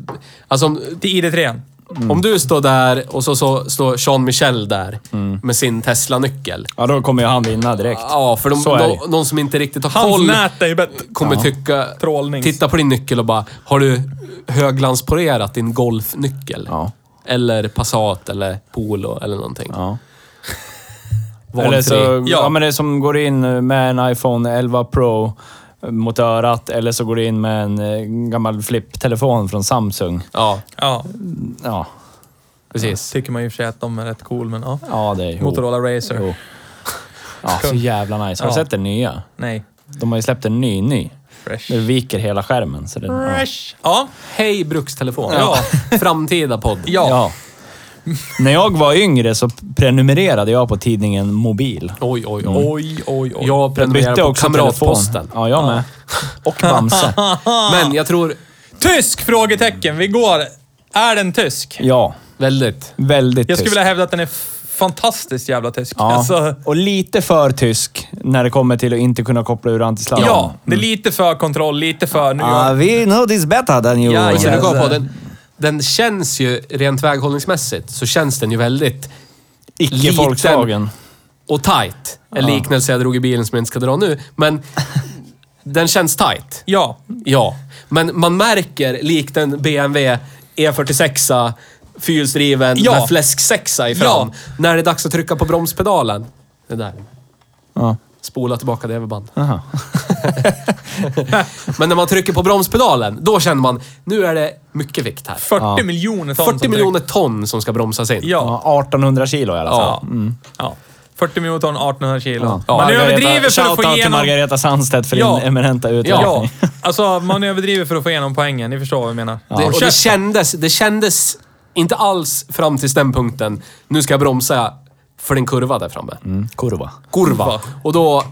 alltså om, Till ID3. Mm. om du står där och så, så står Jean Michel där Mm. med sin Tesla-nyckel. Ja, då kommer ju han vinna direkt. Ja, för de, Så är det. de, någon som inte riktigt har Hans koll nät är ju bättre. kommer tycka... Trollnings. Titta på din nyckel och bara, har du höglanspolerat din golfnyckel? Ja. Eller Passat eller Polo eller någonting. Ja. Valfri. Eller så, ja. Ja. men det är som går in med en iPhone 11 Pro mot örat eller så går det in med en eh, gammal flipptelefon från Samsung. Ja, Ja, Ja, precis. tycker man i och för sig att de är rätt cool, men ja. ja det är ju... Motorola Razer. Jo. Ja, så jävla nice. Har du Ja. sett den nya? Nej. De har ju släppt en ny ny. Fresh. Nu viker hela skärmen. Så den, ja. Fresh. Ja. Hej brukstelefon. Ja. Framtida podd. Ja. ja. När jag var yngre så prenumererade jag på tidningen Mobil. Oj, oj, oj. Oj, oj, oj. Mm. Jag prenumererar Bytte på också Kamratposten. telefon. Ja, jag med. Och Bamse. Men jag tror Tysk? Frågetecken. Vi går. Är den tysk? Ja, väldigt... väldigt Jag skulle tyst. vilja hävda att den är f- fantastiskt jävla tysk. Ja. Alltså, Och lite för tysk när det kommer till att inte kunna koppla ur antisladd. ja, det är lite för kontroll, lite för... Nu Ah, we know this better than you. Ja, Och ja. sen du gav Yes. på den, den känns ju, rent väghållningsmässigt, så känns den ju väldigt Icke liten Volkswagen. och tight. En liknelse jag drog i bilen som jag inte ska dra nu, men den känns tight. ja, Ja, men man märker likt en BMW E46 E fyrhjulsdriven Ja. med fläsksexa i fram. Ja. När det är dags att trycka på bromspedalen. Det där. Ja. Spola tillbaka det överband. Aha. Men när man trycker på bromspedalen, då känner man nu är det mycket vikt här. 40 miljoner ton. som 40 miljoner ton som ska bromsas in. direkt- Ja. Ja, 1800 kilo i alla fall. Ja. ja. 40 miljoner ton, 1800 kilo. Ja. Man Margareta- överdriver för att shoutout få till igenom... Margareta Sandstedt för Ja. din eminenta Ja, uträkning. alltså man överdriver för att få igenom poängen. Ni förstår vad jag menar. Det, och det Käften. kändes, det kändes inte alls fram till den punkten. Nu ska jag bromsa för den kurva där framme. Mm. Kurva. Kurva. Och då...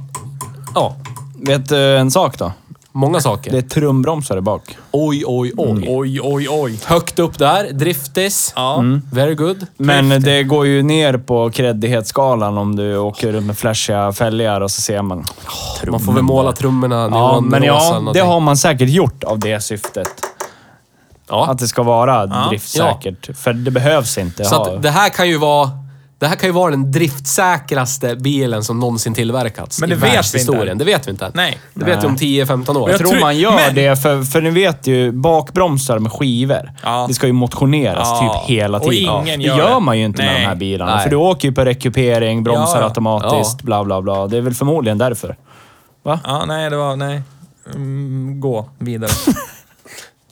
Ja, Vet du en sak då? många Det Mm. saker. är trumbromsare bak. Oj, oj, oj. Oj, oj, oj. Högt upp där. Driftis. Ja. Very good. Mm. Men det går ju ner på kreddighetsskalan om du åker runt med flashiga fälgar och så ser man... Man får väl måla trummorna Ja, neonrosa men eller ja, det någonting. har man säkert gjort av det syftet. Ja. Att det ska vara driftsäkert. För det behövs inte Så ha... att det här kan ju vara... Det här kan ju vara den driftsäkraste bilen som någonsin tillverkats Men i det vet vi inte. världshistorien. Det vet vi inte. Nej. Det vet vi om 10-15 år. Jag Jag tror tror- man gör men- det, för, för ni vet ju, bakbromsar med skivor. Ja. Det ska ju motioneras Ja. typ hela Och tiden. ingen det gör gör det. man ju inte Nej. med de här bilarna. Nej. För du åker ju på rekupering, bromsar Ja, ja. automatiskt, Ja. bla bla bla. Det är väl förmodligen därför. Ja, nej, det var... Nej. Mm, gå vidare.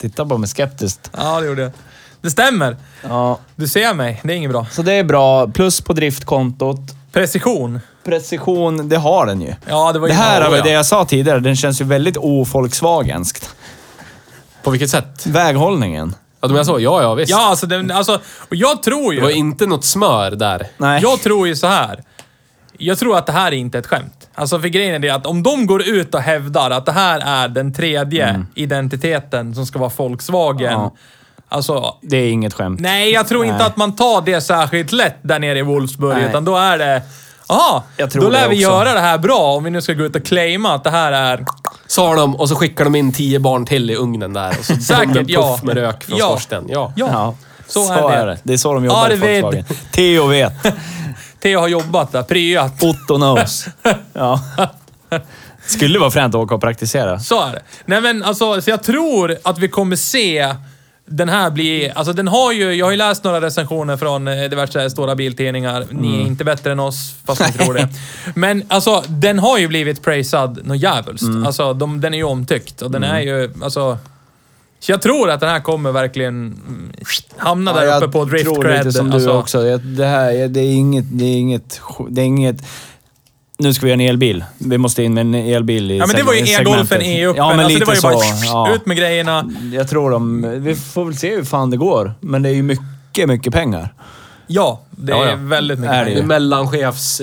Titta på mig skeptiskt. ja, det gjorde jag. Det stämmer. Ja. Du ser mig. Det är inget bra. Så det är bra. Plus på driftkontot. Precision. Precision, det har den ju. Ja, det var Det ju... här, ja, är väl det ja. jag sa tidigare, den känns ju väldigt o-Volkswagenskt. På vilket sätt? Väghållningen. Ja, de jag sa? Ja, ja, visst. Ja, alltså, den, alltså och jag tror ju... Det var inte något smör där. Nej. Jag tror ju så här. Jag tror att det här är inte ett skämt. Alltså för grejen är det att om de går ut och hävdar att det här är den tredje identiteten som ska vara Volkswagen. Ja. Alltså, Det är inget skämt. nej jag tror inte Nej. att man tar det särskilt lätt där nere i Wolfsburg. Nej. Utan då är det, jaha, Jag tror då lär det vi också. göra det här bra om vi nu ska gå ut och claima att det här är... Sa de och så skickar de in 10 barn till i ugnen där. Och så Säkert, kom det en ja. puff med rök från Ja. skorstenen. Ja. Ja, Ja, så, är det. Det är så de jobbar i Arvid. Volkswagen. Theo vet. Theo har jobbat där, pryat. Otto knows. Ja. Skulle vara fränt att åka och praktisera. Så är det. Nej men alltså, så jag tror att vi kommer se den här bli... Alltså den har ju... Jag har ju läst några recensioner från eh, diverse stora biltidningar. Mm. Ni är inte bättre än oss, fast ni tror det. Men alltså, den har ju blivit praisad något djävulskt. Mm. Alltså, de, den är ju omtyckt och den är ju... Alltså... Så jag tror att den här kommer verkligen mm, hamna där uppe på drift tror cred. lite som alltså. du också. Jag- Det här jag- det är inget... Det är inget... sj- Det är inget nu ska vi göra en elbil. Vi måste in med en elbil i Ja men det var ju segmentet. e-golfen, e-uppen. Ja, men alltså, lite det var ju bara så. Ja. ut med grejerna. Jag tror de... Vi får väl se hur fan det går. Men det är ju mycket, mycket pengar. Ja, det Ja, ja. är väldigt mycket Är Det pengar. är mellanchefs...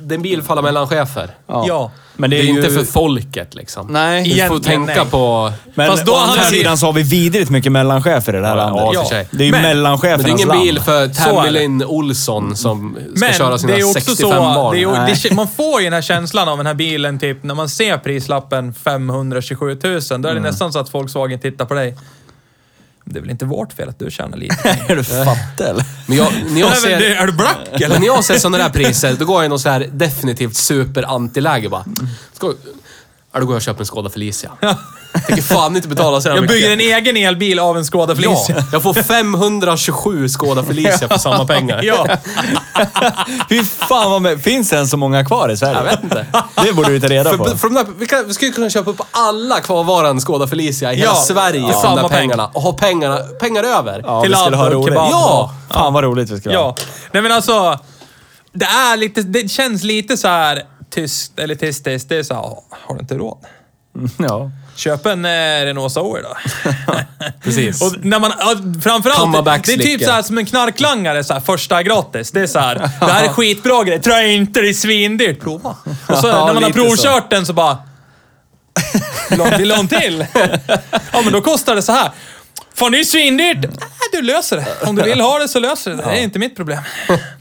Det är en bil för alla mellanchefer. Ja. Men Det det är, är, ju... inte för folket liksom. Nej. Du får Egentligen, tänka nej. på... Men Fast då å andra hade vi- sidan så har vi vidrigt mycket mellanchefer i det här Ja, landet. ja, i och för sig. Det är ju Men- Men det är mellanchefernas ingen land. bil för Så är det. Tamilin Olsson som ska Men köra sina det är också 65 så, barn. det är, ju- Nej. det, man får ju den här känslan av den här bilen typ när man ser prislappen 527 000. Då är det Mm. nästan så att Volkswagen tittar på dig. Det är väl inte vårt fel att du tjänar lite. Är du fattig eller? Men jag, när jag Nej, men det- ser... är du black Eller när jag ser sådana där priser, då går jag i någon så här definitivt super-antiläge bara. Ska, ja, då går jag och köper en Skoda Felicia. Tänker fan inte betala så här Jag mycket. bygger en egen elbil av en Skoda Felicia. Ja, jag får 527 Skoda Felicia för samma pengar. Ja. Fy fan vad med... Finns det ens så många kvar i Sverige? Jag vet inte. Det borde vi ta reda på. För, för de där, vi, kan, vi skulle kunna köpa upp alla kvarvarande Skoda Felicia i hela Ja, Sverige ja. för de Samma där peng. pengarna. Och ha pengarna, pengar över. Ja, till vi skulle ha allt och roligt. kebab. Ja! Fan vad roligt vi skulle ha. Ja. Nej men alltså. Det är lite, det känns lite så här tyst, eller tystiskt. Det är så här, "Åh, har du inte råd? Ja. Köp en eh, Renault Zoe då. Precis. Och när man, ja, framförallt, Comeback det är typ slicker. så här som en knarklangare, så här, första är gratis. Det är så här, det här är skitbra grej. Tror jag inte, det är svindyrt. Prova. Och så Ja, när man har lite provkört den så bara... "Vill du ha- Vill du ha en till? Ja, men då kostar det så här. Äh, Fan, det är ju svindyrt. Nej, du löser det. Om du vill ha det så löser det. Det är inte mitt problem.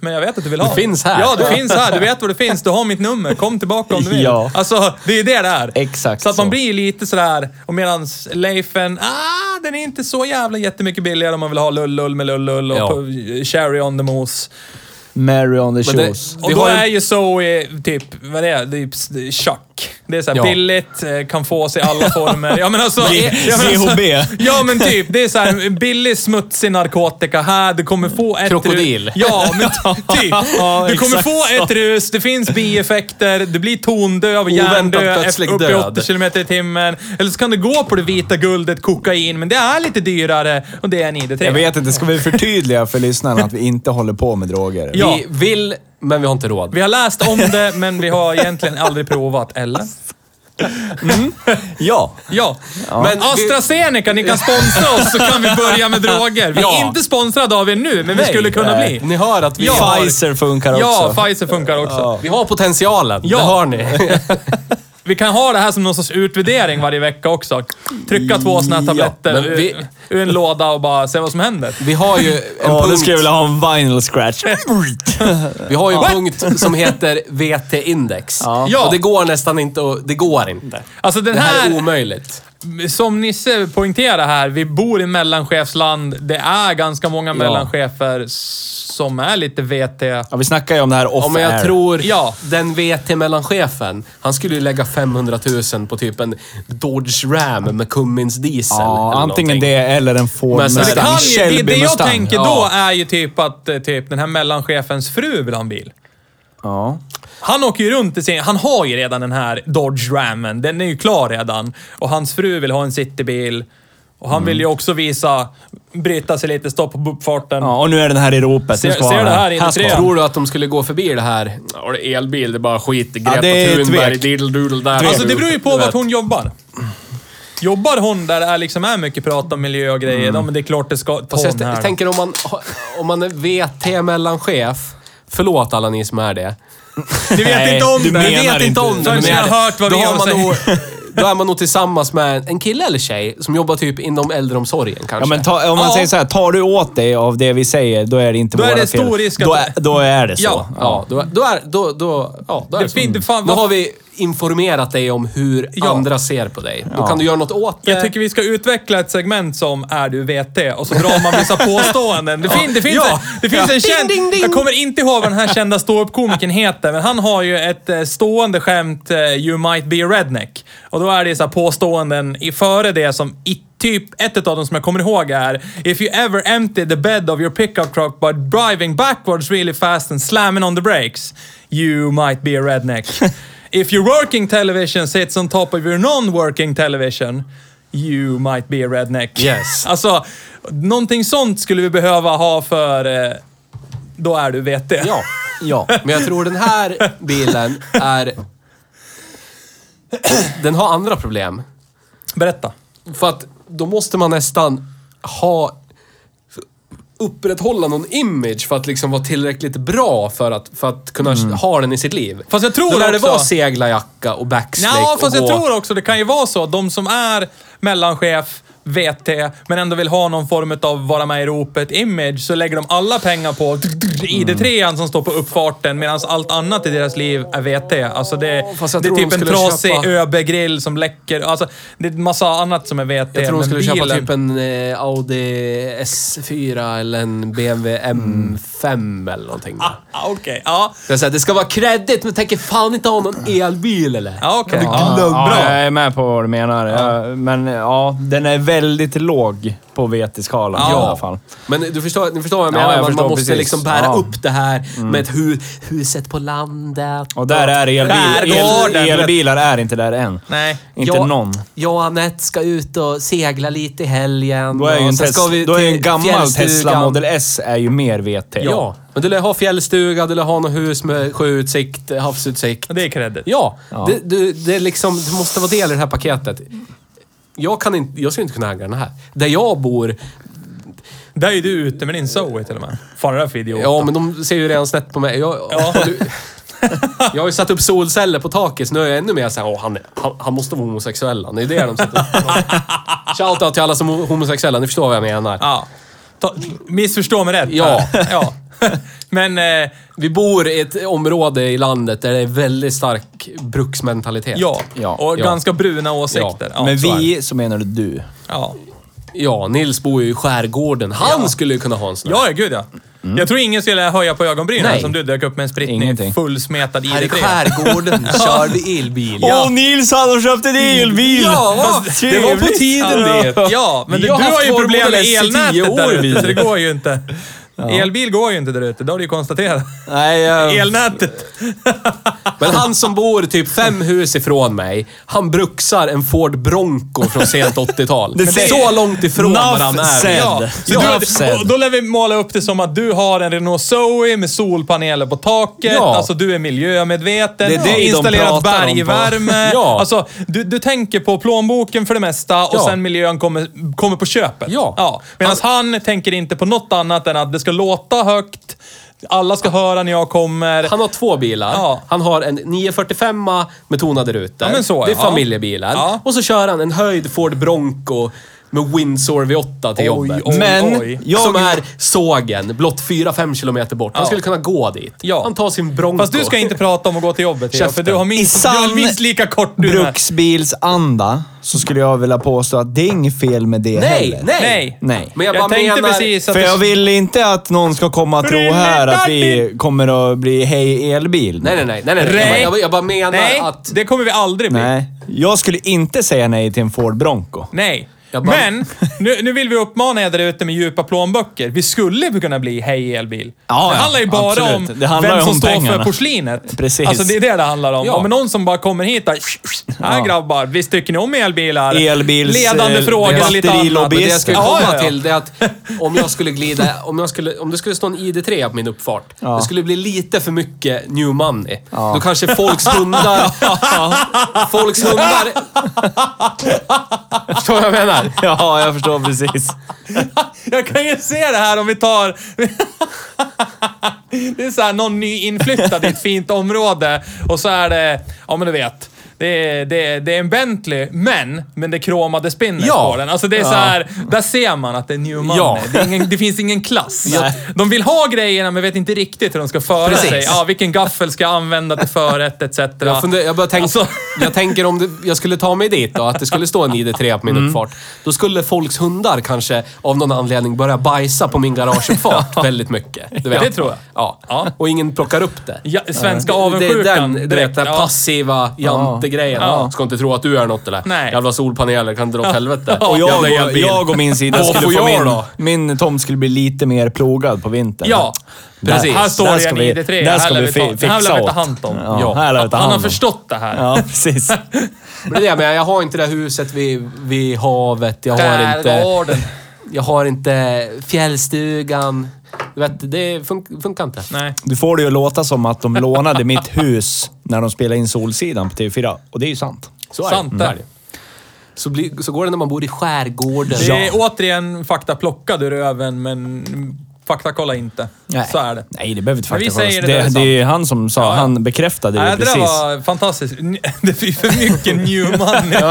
men jag vet att du vill ha Det finns här. Ja, det finns här. Du vet var det finns. Du har mitt nummer. Kom tillbaka om du vill. Ja. Alltså, det är det det är. Exakt Så att så. man blir lite sådär, och medans Leifen, ah, den är inte så jävla jättemycket billigare om man vill ha lullull med lullull och Ja. på- cherry on the mousse. Mary on the Men det- shoes. Och Vi då har ju- är ju Zoe typ, vad är det? Typ s- chuck. Det är såhär Ja. billigt, eh, kan fås i alla former. Ja men alltså... G- ja, men alltså- GHB. Ja men typ, det är såhär billig smutsig narkotika här, du kommer få ett... Krokodil. ru- Ja, men t- typ. Ja, Du kommer exakt få ett rus, det finns bieffekter, du blir tondöv och hjärndöd plötslig upp i död. 80 km i timmen. Eller så kan du gå på det vita guldet, kokain, men det är lite dyrare och det är en ID3. Jag vet inte, ska vi förtydliga för lyssnarna att vi inte håller på med droger? Ja. Vi vill, men vi har inte råd. Vi har läst om det, men vi har egentligen aldrig provat, eller? ja. Ja, Men men vi- AstraZeneca, ni kan sponsra oss så kan vi börja med droger. Vi är Ja. inte sponsrade av er nu, men vi skulle kunna nej. bli. Ni hör att vi Ja. har... Pfizer funkar Ja, också. Pfizer funkar också. Vi har potentialen, det har ni. Vi kan ha det här som någon sorts utvärdering varje vecka också. Trycka två såna här Ja, tabletter men ur- vi- ur en låda och bara se vad som händer. Vi har ju en Ja, nu punkt, skulle jag vilja ha en vinyl scratch. vi har ju en punkt som heter VT-index. Ja. Och det går nästan inte att... Det går inte. Alltså den Det här är här, omöjligt. som Nisse poängterar här, vi bor i mellanchefsland. Det är ganska många mellanchefer som är lite VT. Ja, vi snackar ju om det här off Ja, men jag air. tror Ja. den VT-mellanchefen, han skulle ju lägga 500 000 på typ en Dodge Ram med Cummins diesel. Ja, eller antingen någonting. det eller en Ford Men så Mustang. här- Det, kan ju, det, Shelby det jag Mustang. tänker då Ja. är ju typ att eh, typ, den här mellanchefens fru vill ha en bil. Ja. Han åker ju runt i sin... Han har ju redan den här Dodge Ramen. Den är ju klar redan. Och hans fru vill ha en citybil. Och han vill ju Mm. också visa... Bryta sig lite, stå på buppfarten. ja, och nu är den här i ropet. Ser- Nu ska ser han det här ska inifrån? han. Tror du att de skulle gå förbi det här? Ja, det är elbil, det är bara skit. Greta Ja, det är Thunberg, tvek. diddle-doodle där. Alltså det beror ju på Du vet. vart hon jobbar. Jobbar hon där det är liksom är mycket prat om miljö och grejer, ja men det är klart det ska... Mm. Fast jag Ton här. t- tänker om man, om man är VT-mellanchef. Förlåt alla ni som är det. du vet Nej, inte om du det! menar vet inte om inte. det! Du men jag menar- har hört vad då vi har har att man säga. nog, Då är man nog tillsammans med en kille eller tjej som jobbar typ inom äldreomsorgen kanske. Ja, men ta, om man Ja. säger så här, tar du åt dig av det vi säger, då är det inte Då är våra det stor fel. risk att då, det- är, då är det så. Ja, ja. Då, då är, då, då, ja, då är Det det, så. fin- det fan- Nu har vi informerat dig om hur Ja. andra ser på dig. Då kan du göra något åt det. Jag tycker vi ska utveckla ett segment som Är du VT? Och så drar man vissa påståenden. Det, fin, det finns, Ja. en, det finns en känd... Jag kommer inte ihåg vad den här kända ståuppkomikern heter, men han har ju ett eh, stående skämt eh, “You might be a redneck”. Och då är det så här påståenden i före det som i Typ ett av dem som jag kommer ihåg är “If you ever empty the bed of your pickup truck by driving backwards really fast and slamming on the brakes, you might be a redneck. If your working television sits on top of your non-working television, You might be a redneck. Yes. Alltså, någonting sånt skulle vi behöva ha för... eh, Då är du VT. Ja. Ja. Men jag tror den här bilen är... Den har andra problem. Berätta. För att då måste man nästan ha upprätthålla någon image för att liksom vara tillräckligt bra för att, för att kunna ha den i sitt liv. Mm. Fast jag tror Då lär det också- vara seglarjacka och backslick Ja, fast och jag gå- tror också det kan ju vara så. De som är mellanchef, VT, men ändå vill ha någon form av vara med i ropet image, så lägger de alla pengar på Mm. ID3 som står på uppfarten medan allt annat i deras liv är VT. Alltså det, fast det är jag tror typ de en skulle trasig köpa- ÖB-grill som läcker. Alltså, det är en massa annat som är VT. Jag tror de men skulle köpa bilen- typ en eh, Audi S4 eller en BMW M5 eller någonting. Ah, Okej, ja. Jag säger, det ska vara kreddigt, men tänker fan inte ha någon elbil eller? Ja, okej. Ja, jag är med på vad du menar. Jag- Men ja, den är väldigt låg på VT-skalan i alla fall. Men du förstår, ni förstår vad jag Ja, menar? jag man, förstår man måste precis. liksom bära Ja. upp det här med ett hu huset på landet. Och där är elbil, el, Skärgården. elbilar är inte där än. Nej. Inte jag, någon. Jag och Anette ska ut och segla lite i helgen. Då är ju och en, sen tes, ska vi då är ju till en gammal fjällstugan. Tesla Model S är ju mer VT. Ja. men du lär ha fjällstuga, du lär ha något hus med sjöutsikt, havsutsikt. Det är credit. Ja, Ja. Det, du, det är liksom, du måste vara del i det här paketet. Jag, kan inte, jag skulle inte kunna äga den här. Där jag bor, Där är ju du ute med din Zoe till och med. Fan, det där är för idiot. ja men de ser ju redan snett på mig. Jag, jag har ju satt upp solceller på taket, så nu är jag ännu mer såhär, åh han, är- han, han måste vara homosexuell han. Det är det de sätter upp. Shoutout till alla som är homosexuella, ni förstår vad jag menar. Ja. Ta, missförstå mig rätt. Ja. ja. Men eh, Vi bor i ett område i landet där det är väldigt stark bruksmentalitet. ja. Ja, och ja. ganska bruna åsikter. Ja, Men så är det. vi, så menar du du. Ja. Ja, Nils bor ju i skärgården. Han skulle ju kunna ha en sån här. Ja, ja, gud ja. Jag tror ingen skulle höja på ögonbrynen Mm. Nej. som du dök upp med en spritning Ingenting. fullsmetad i Här i dig. skärgården kör vi elbil. Åh, Nils han har köpt en elbil! Ja, det var på tiden det. Ja, men du, Vi du har haft har ju vår problem med modell S i tio elnätet år, där vi. ute, så det går ju inte. Elbil går ju inte där ute, det har du ju konstaterat. Nej, eh, jag... Elnätet. Men han som bor typ fem hus ifrån mig, han bruksar en Ford Bronco från sent 80-tal. Det säger- Så långt ifrån Enough varandra är vi. said. Ja. Ja, Så så du- du, och då lär vi måla upp det som att du har en Renault Zoe med solpaneler på taket. Ja. Alltså, du är miljömedveten. Det är det de installerat pratar om på- bergvärme. Ja. Alltså, du, du tänker på plånboken för det mesta och Ja. sen miljön kommer, kommer på köpet. Ja. Alltså- Medan han... tänker inte på något annat än att det ska låta högt, alla ska höra när jag kommer. Han har två bilar. Ja. Han har en 945 med tonade rutor. Ja, men så, det är ja. familjebilar. Ja. Och så kör han en höjd Ford Bronco med Windsor V8 till jobbet. oj, Men- oj. jag- Som är sågen, blott 4-5 kilometer bort. Han skulle kunna gå dit. Ja. Han tar sin Bronco. Fast du ska inte prata om att gå till jobbet, Theo, för Käften. du har I minst, du sann har minst lika kort du med. bruksbilsanda så skulle jag vilja påstå att det är inget fel med det Nej, heller. nej! Nej. Nej. Men jag, Jag, bara tänkte menar... precis att... För det- jag vill inte att någon ska komma och tro här att vi kommer att bli hej elbil. Nej, nej, nej. nej, nej, nej. Nej. Jag, bara- jag bara menar Nej, att... det kommer vi aldrig bli. Nej. Jag skulle inte säga nej till en Ford Bronco. Nej. Jag bara- Men nu, nu vill vi uppmana er där ute med djupa plånböcker. Vi skulle kunna bli Hej elbil. Ja, det ja, handlar ju bara absolut. om Det handlar vem ju som om står för pengarna. porslinet. Precis. Alltså det är det det handlar om. Ja. Om någon som bara kommer hit och... Här grabbar, visst tycker ni om elbilar? Elbils, Ledande eh, frågor och lite batterilobbyist. annat. Men det jag skulle Ja, komma ja, ja. till det är att om jag skulle glida, om, jag skulle, om det skulle stå en ID3 på min uppfart, Ja. det skulle bli lite för mycket new money. Ja. Då kanske folks hundar... folks hundar... Förstår du vad jag menar? Ja, jag förstår precis. Jag kan ju se det här om vi tar... det är så här någon nyinflyttad i ett fint område och så är det, ja men du vet. Det är, det, är, det är en Bentley, men, men det är kromade spinnet Ja. på den. Alltså det är så här, där ser man att det är new money. Ja. Det, är ingen, det finns ingen klass. De vill ha grejerna men vet inte riktigt hur de ska föra Precis. sig. Ja, vilken gaffel ska jag använda till förrätt etc. Jag, funder, jag, bara tänk, Alltså- jag tänker om det, jag skulle ta mig dit då, att det skulle stå en ID3 på min Mm. uppfart. Då skulle folks hundar kanske av någon anledning börja bajsa på min garageuppfart väldigt mycket. Du vet. Det tror jag. Ja. Ja. Och ingen plockar upp det. ja, svenska Det avundsjukan är den, du vet, den Ja. passiva jantegrejen. Ja. Ska inte tro att du är något eller? Nej. Jävla solpaneler, kan dra åt helvete. Och jag, Jävla och, elbil. jag och min sida Vad får skulle få jag min, då? min tomt skulle bli lite mer plogad på vintern. Ja, Där- precis. här står där det ska en vi- ID3. där Här ska lär vi vi ta- fi- här lär vi fixa ta åt. hand om. Ja, här lär vi ta Han har hand om. förstått det här. Ja, precis. Men det är det, men jag har inte det här huset vid, vid havet. Jag har, inte, Skärgården. jag har inte fjällstugan. Du vet, det fun- funkar inte. Nej. Du får det ju låta som att de lånade mitt hus när de spelade in Solsidan på TV4. Och det Mm, är ju sant. Så är Sant det. där. Så är det. Så, blir, så går det när man bor i skärgården. Det är återigen fakta plockad ur öven, men fakta kolla inte. Så är det. Mm. Nej, det behöver inte Men vi faktiskt vara säger det, det där är det, sant. är ju han som sa, ja. han bekräftade det Nej, det precis. där var fantastiskt. Det är för mycket new money.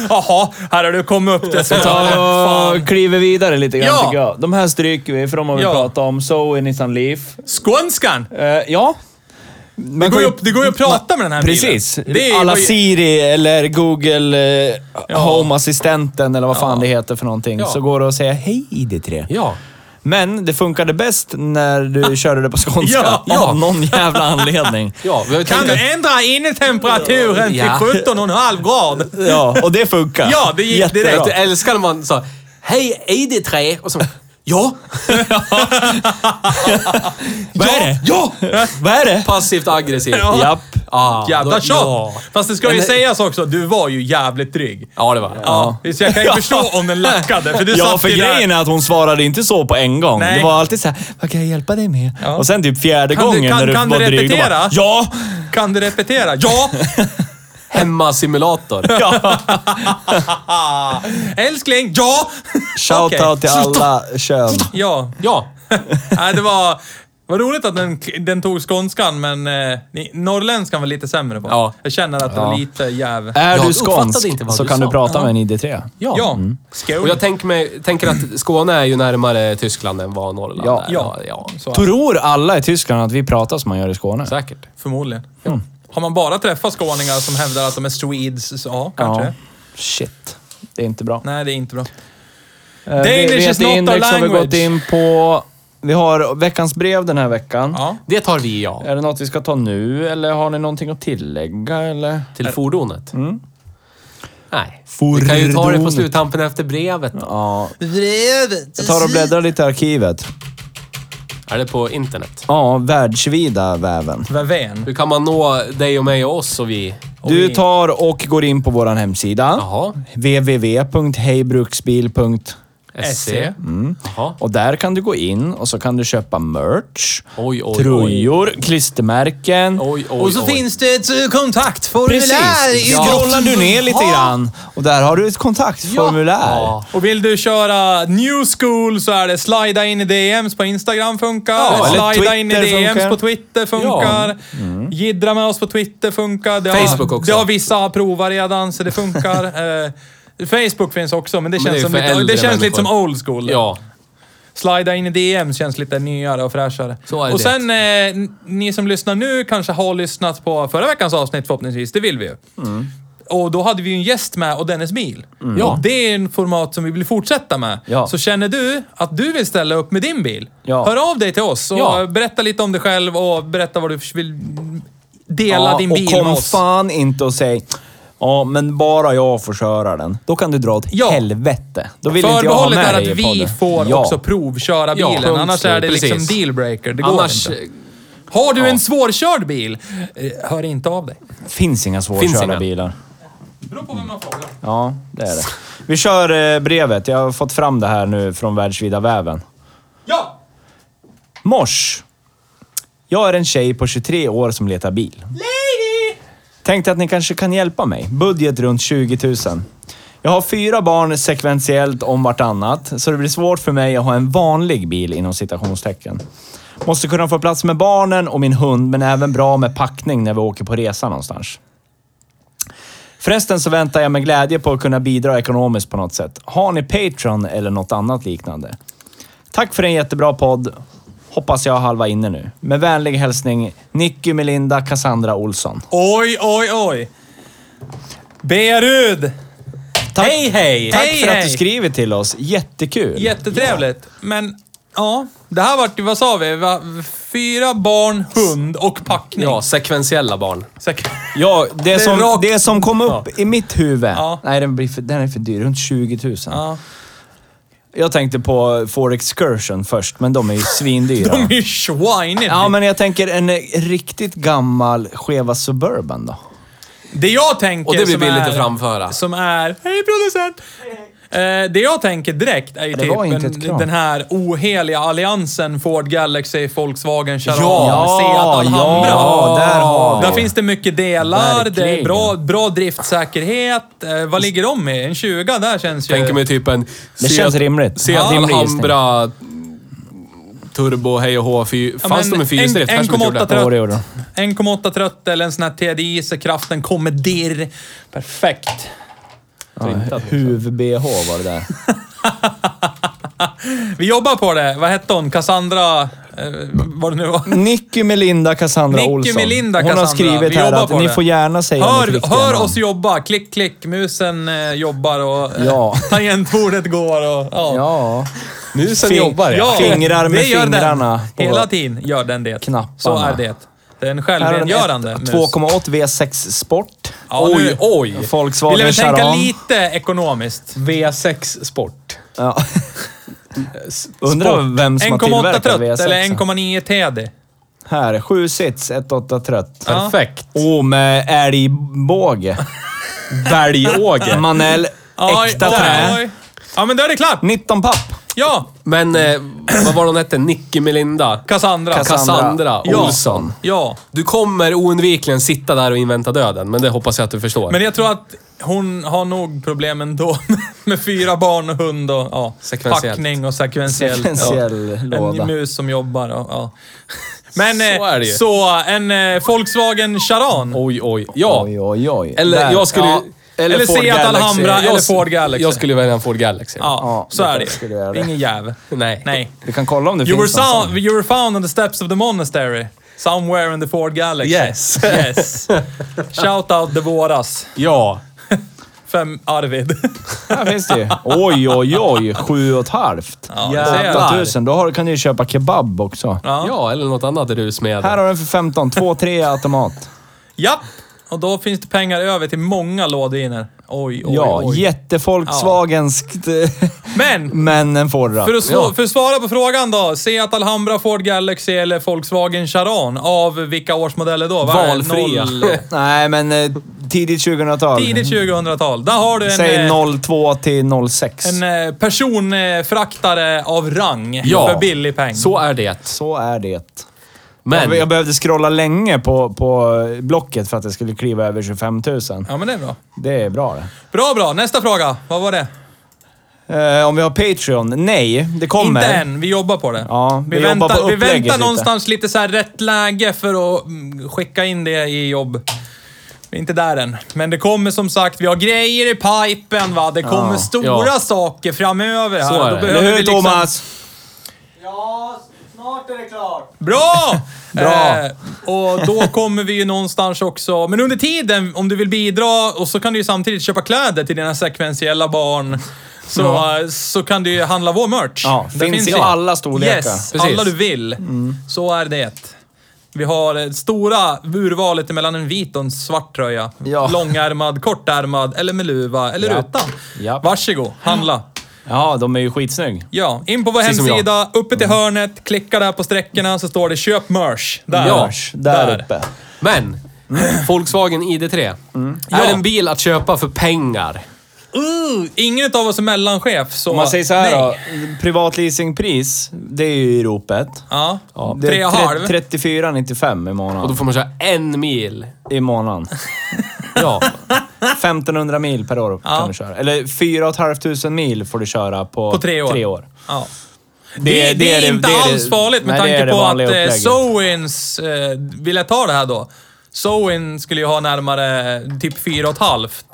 Jaha, här har du kommit upp det. Så Ta och kliver vidare lite grann Ja. tycker jag. De här stryker vi för de har vi Ja. pratat om. Zoe, Nissan Leaf. Skånskan! Eh, ja. Det går ju upp- det går ju att prata med den här bilen. Precis. Det är- Alla var ju- Siri eller Google eh, Home-assistenten eller vad fan det heter för någonting. Ja. Så går det att säga hej ID3. Ja. Men det funkade bäst när du körde det på skånska. Ja. Av någon jävla anledning. ja vi har ju Kan tänkt att- du ändra innetemperaturen till Ja. 17,5 grad? Ja, och det funkar. Ja, det gick Jättebra. direkt. Jag älskar när man sa Hej, är det tre? Och så Ja! Vad är det? Ja! Vad är det? Passivt aggressivt. Ja. Japp. Ah, Jävla då- tjat! Ja. Fast det ska ju Men- sägas också, du var ju jävligt dryg. ja, det var det. Ja. Så jag kan ju förstå om den lackade, för du Ja, satt för ju grejen där. är att hon svarade inte så på en gång. Nej. Det var alltid så här, vad kan jag hjälpa dig med? Ja. Och sen typ fjärde Kan du- gången kan- när du kan var du dryg, då bara, repetera? Ja! Kan du repetera? Ja! Hemmasimulator. Älskling, ja! Shoutout Okej. till alla kön. Ja. Ja. Nej, det var... Vad roligt att den, den tog skånskan, men eh, ni- norrländskan var lite sämre på. Ja. Jag känner att det var lite jäv... Är Jag du uppfattade skånsk inte vad så du kan sa. du prata med en ID3. Ja. Ja. Mm. Skål. Och jag tänker, mig, tänker att Skåne är ju närmare Tyskland än vad Norrland Ja. är. Ja. ja. Så, Tror alla i Tyskland att vi pratar som man gör i Skåne? Säkert. förmodligen. Har man bara träffat skåningar som hävdar att de är Swedes, så ja, kanske. Ja. Shit. Det är inte bra. Nej, det är inte bra. Eh, vi- Danish vi is heter not our Index har vi language. gått in på... Vi har veckans brev den här veckan. Ja. Det tar vi ja. Är det något vi ska ta nu eller har ni någonting att tillägga eller? Till fordonet. Mm. Nej. Vi kan ju ta det på Fordonet. sluttampen efter brevet. då. Ja. Jag tar och bläddrar lite i arkivet. Är det på internet? Ja, världsvida väven. Väven. Hur kan man nå dig och mig och oss och vi? Du tar och går in på vår hemsida. Jaha. www.hejbruksbil.se SC. Mm. Jaha. Och där kan du gå in och så kan du köpa merch, Oj, oj, tröjor, klistermärken. Oj, oj, Och så oj. finns det ett eh, Precis! kontaktformulär i Scrollar du ner lite grann och där har du ett kontaktformulär. Ja. Och vill du köra new school så är det slida in i DMs på Instagram funkar. Ja, eller slida in i Twitter DMs funkar. på Twitter funkar. Jiddra med oss på Twitter funkar. Det Mm. Facebook har, också. Det har vissa provat redan, så det funkar. Eh, Facebook finns också, men det Men det är känns, ju för som lite, äldre det känns lite som människor. old school. Ja. Slida in i DMs känns lite nyare och fräschare. Så är det. och sen, eh, n- ni som lyssnar nu kanske har lyssnat på förra veckans avsnitt förhoppningsvis. Det vill vi ju. Mm. Och då hade vi ju en gäst med och Dennis Mil. Och det är en format som vi vill fortsätta med. Ja. Så känner du att du vill ställa upp med din bil, Ja. hör av dig till oss och Ja. berätta lite om dig själv och berätta vad du vill dela din bil och kom med oss. fan inte och säg Ja, men bara jag får köra den. Då kan du dra åt Ja. helvete. Då vill inte jag ha Förbehållet med är dig i att vi podden. får ja. också provköra Ja, bilen, punkt annars är det slut. liksom Precis. dealbreaker. Det går Annars inte. Har du en svårkörd bil, eh, hör inte av dig. Finns inga Finns svårkörda inga. bilar. beror på vem man frågar. Ja, det är det. Vi kör eh, brevet. Jag har fått fram det här nu från världsvida väven. Ja! Mors. Jag är en tjej på 23 år som letar bil. Lady! Tänkte att ni kanske kan hjälpa mig. Budget runt 20 000. Jag har fyra barn sekventiellt om vartannat, så det blir svårt för mig att ha en vanlig bil inom citationstecken. Måste kunna få plats med barnen och min hund, men även bra med packning när vi åker på resa någonstans. Förresten så väntar jag med glädje på att kunna bidra ekonomiskt på något sätt. Har ni Patreon eller något annat liknande? Tack för en jättebra podd. Hoppas jag har halva inne nu. Med vänlig hälsning Nicky Melinda Cassandra Olsson. Oj, oj, oj. Berud! Tack, Hej, hej! Tack Hej, för att hej. du skriver till oss. Jättekul. Jättetrevligt. Men, ja. Det här vart ju- vad sa vi? Va? Fyra barn, hund och packning. Ja, sekventiella barn. Säkert. ja, det, som, rakt- det som kom upp i mitt huvud. Ja. Nej, den, blir för, den är för dyr. Runt 20 000. Ja. Jag tänkte på Ford Excursion först, men de är ju svindyra. De är ju schweinigt. Ja, men jag tänker en eh, riktigt gammal Cheva Suburban då. Det jag tänker Och det blir som billigt är, att framföra. Som är... Hej producent! Eh, det jag tänker direkt är ju Det var typ inte ett en, krav. den här oheliga alliansen Ford Galaxy, Volkswagen, Charan, Ja, Seat Alhambra. ja, där har vi där det. finns det mycket delar, det är Verkligen. bra, bra driftsäkerhet. Eh, vad ligger de i? En 20 där känns ju... Tänker mig typ en... Det känns rimligt. Seat Ja. Rimlig gissning. Alhambra Turbo Hej och Hå. Fy, Ja, fanns men de med fyrhjulsdrift? en- Kanske de gjorde 1,8 det. Ja, det gjorde trött. 1,8 trött eller en sån här TDI, kraften kommer dirr. Perfekt. Ja, Huv-BH var det där. Vi jobbar på det. Vad hette hon? Cassandra... Eh, vad det nu var. Nicky Melinda Cassandra Nicky Olsson. Melinda Hon har Cassandra. skrivit Vi här jobbar att på ni det. får gärna säga mitt Hör, riktiga hör namn. oss jobba. Klick, klick. Musen eh, jobbar och eh, Ja. tangentbordet går och... Ja. Ja. Musen Fing- jobbar ja. Ja. Fingrar med det gör fingrarna på Den. Hela tiden gör den det. knapparna. Så är det. Det är en Här har den självrengörande ett- mus. 2,8 V6 Sport. Ja, nu- oj, oj! Vill jag Volkswagen väl tänka Charan. lite ekonomiskt. V6 Sport. Ja. Undrar vem som har 1,8 tillverkat trött V6. eller 1,9 TD. Här, 7 sits, 1,8 trött. Ja. Perfekt. Och med älgbåge. Välgåge. Manel, Oj, äkta oj, trä. oj. Ja, men då är det klart. 19 papp. Ja, Men eh, vad var hon hette? Nicky Melinda? Cassandra. Cassandra. Cassandra Ja. Olsson. Ja, Du kommer oundvikligen sitta där och invänta döden, men det hoppas jag att du förstår. men jag tror att hon har nog problem ändå med fyra barn och hund och ja, Sekventiellt. packning och sekventiell. Sekventiell låda. En mus som jobbar och, ja. Men Så är det så, ju. så en eh, Volkswagen Charan. Oj, oj. Ja. Oj, oj, oj. Eller Där. jag skulle... Ja. Eller, Ford Seat Galaxy. Alhambra jag, eller Ford Galaxy. Jag skulle välja en Ford Galaxy. ja, Ja, så det är det skulle jag ju. göra det. Ingen jäv. Nej. Nej. Vi kan kolla om det You were, finns någon sound, sån. you were found on the steps of the monastery. Somewhere in the Ford Galaxy. Yes. yes. Shout out de våras. Ja. Fem Arvid. Här finns det ju. Oj, oj, oj. Sju och ett halvt. Jävlar. 1000. Då har, kan du ju köpa kebab också. Ja. Ja, eller något annat rusmedel. Här har du den för 15. 2-3 automat. Japp! Och då finns det pengar över till många lådviner. Oj, oj, Ja, oj. jättefolksvagenskt. Men! Men en Forra. För att, slå, Ja. för att svara på frågan då. Seat Alhambra, Ford Galaxy eller Volkswagen Charan. Av vilka årsmodeller då? Vad är det? Valfria. Noll- Nej, men eh, tidigt 2000-tal. Tidigt 2000-tal. Där har du en, Säg eh, 02 till 06. en eh, personfraktare av rang Ja. för billig peng. Så är det. Så är det. Men... Jag, jag behövde scrolla länge på, på Blocket för att jag skulle kliva över 25 000. Ja, men det är bra. Det är bra det. Bra, bra. Nästa fråga. Vad var det? Eh, om vi har Patreon? Nej, det kommer. Inte än. Vi jobbar på det. Ja, vi, vi jobbar väntar, på vi upplägget väntar lite. någonstans lite så här rätt läge för att mm, skicka in det i jobb. Vi är inte där än. Men det kommer som sagt, vi har grejer i pipen va. Det kommer stora Ja. saker framöver här. Så är det. Då Eller Eller behöver vi hur liksom... Thomas? Bra! Bra. Eh, och då kommer vi ju någonstans också... Men under tiden, om du vill bidra, och så kan du ju samtidigt köpa kläder till dina sekventiella barn. Så, eh, så kan du ju handla vår merch. Ja, Det finns i ju. alla storlekar. Mm. Yes, Precis. alla du vill. Så är det. Vi har eh, stora urvalet mellan en vit och en svart tröja. Ja. Långärmad, kortärmad, eller med luva, eller Japp. utan. Japp. Varsågod, handla. Ja, de är ju skitsnygg. Ja, in på vår Precis som jag. hemsida, uppe Mm. till hörnet, klicka där på sträckorna så står det köp merch. Där. Ja, Där, uppe. Men, Volkswagen ID3. Är det en bil att köpa för pengar? Uh, ingen av oss är mellanchef, så... Om man säger så här nej. då. Privatleasingpris, det är ju i ropet. Ja. Ja. Tre och halv. 34,95 i Och då månaden. får man köra en mil. I månaden. Ja. 1500 mil per år Ja. kan du köra. Eller 4 500 mil får du köra på, På tre år. Tre år. Ja. Det, det, är inte det är det- alls farligt med nej, det är tanke det på att vanliga eh, upplägget. Sowins eh, ville ta det här då. Sowin skulle ju ha närmare eh, typ fyra och ett halvt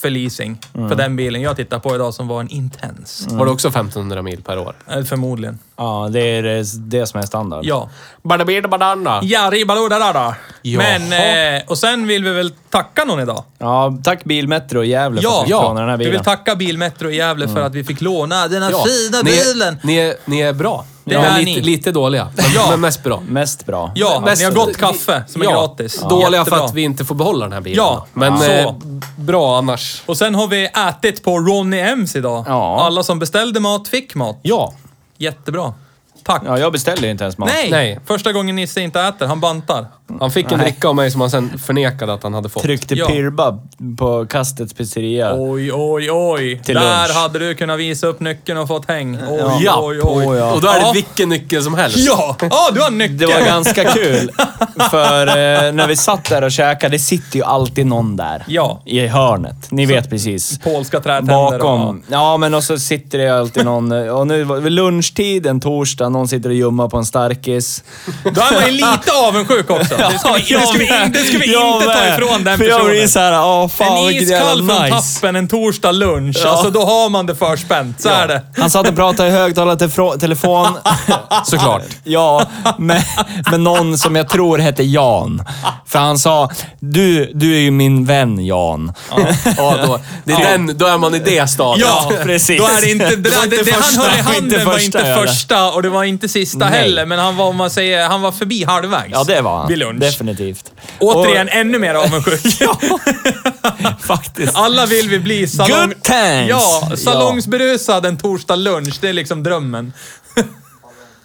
för leasing. Mm. För den bilen jag tittar på idag som var en Intense. Var det också 1500 mil per år? Eh, Förmodligen. Ja, det är det, det som är standard. Ja. Badabida badana. Ja, ribbalodda där då. Jaha. Men, eh, och sen vill vi väl tacka någon idag. Ja, tack Bilmetro och Gävle för Ja, att vi fick låna den här ja. vi bilen. Mm. vill tacka Bilmetro i Gävle för att vi fick låna den här fina Ni är- bilen. Ni är, ni är bra. Det men är lite, ni. lite dåliga, men, Ja. men mest bra. Mest bra. Ja, mest, ni har gott kaffe som är ja, gratis. Dåliga Jättebra. för att vi inte får behålla den här bilen. Ja, men så. eh, bra annars. Och sen har vi ätit på Ronny M's idag. Ja. Alla som beställde mat fick mat. Ja, Jättebra. Tack. Ja, jag beställde ju inte ens mat. Nej. Nej. Första gången Nisse inte äter, han bantar. han fick en dricka av mig som han sen förnekade att han hade fått. Tryckte Ja. pirba på kastets pizzeria. Oj, oj, oj. Till Där lunch. hade du kunnat visa upp nyckeln och fått häng. Oj, Ja. oj, oj. Oj, ja. Och då är det Ja. vilken nyckel som helst. Ja! Ja, du har nyckeln! Det var ganska kul. För eh, när vi satt där och käkade, det sitter ju alltid någon där. Ja. I hörnet. Ni vet precis. Polska trätänder och- Bakom. Ja, men och så sitter det alltid någon... eh, Och nu var- vid lunchtid en torsdag, någon sitter och ljummar på en starkis. Då är man ju lite avundsjuk också. Det ska vi, det ska vi, in- det ska vi Jag inte ta med. ifrån den För jag blir personen. såhär, ja fan En vilket jävla iskall nice. från tappen en torsdag lunch. Alltså, då har man det förspänt. Så är det. Han satt och pratade i högtalartelefon. Såklart. Ja, med, med någon som jag tror hette Jan. För han sa, du, du är ju min vän Jan. Ja, då, det är den, då är man i det stadiet. Ja, precis. Då är det inte... Det, Det var där- det, inte det han första, höll i handen det var inte var första inte jag hörde. första och det var inte sista Nej. heller, men han var, om man säger, han var förbi halvvägs. Ja, det var han. Vid lunch. Definitivt. Återigen, ännu mer avundsjuk. Och, faktiskt. Alla vill vi bli salong... Good times! Ja, Ja. salongsberusad en torsdag lunch. Det är liksom drömmen.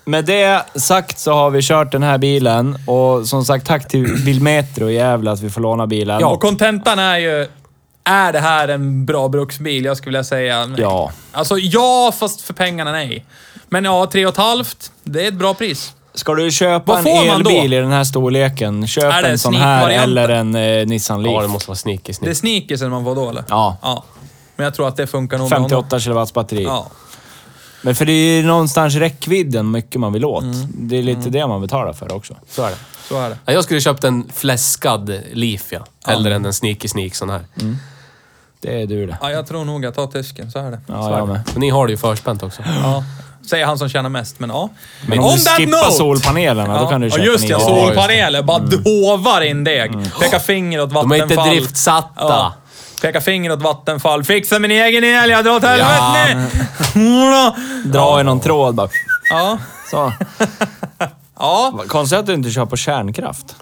Med det sagt så har vi kört den här bilen och som sagt tack till Bilmetro i Gävle att vi får låna bilen. Och kontentan är ju... är det här en bra bruksbil? Jag skulle vilja säga nej. Ja. Alltså ja, fast för pengarna nej. Men ja, tre och ett halvt, det är ett bra pris. Ska du köpa Vad en får man då? elbil i den här storleken, köp Är det en sån här sneak-varianten? eller en eh, Nissan Ja, Leaf. det måste vara sneaky Det är sneaky. sneakersen man får då eller? Ja. ja. Men jag tror att det funkar nog med honom. 58 kilowatts batteri. Ja. Men för det är ju någonstans räckvidden mycket man vill åt. Mm. Det är lite det man betalar för också. Så är det. Så är det. Ja, jag skulle köpt en fläskad Leaf, ja. Hellre än en sneaky sneak sån här. Det är du det. Ja, jag tror nog att ta tysken, så är det. Ja, jag med. Så ni har det ju förspänt också. Ja. Säger han som tjänar mest, men ja. Men On that skippa note! solpanelerna, då kan du Ja, köpa just en det. elbil. sol- Solpaneler. Bara Mm. dåvar in deg. Peka finger åt De är inte Vattenfall. driftsatta. Ja. Peka finger åt Vattenfall. Fixa min egen el, jag drar åt helvete! Ja. Dra i någon tråd bara. ja. Så. ja. Konstigt att du inte kör på kärnkraft.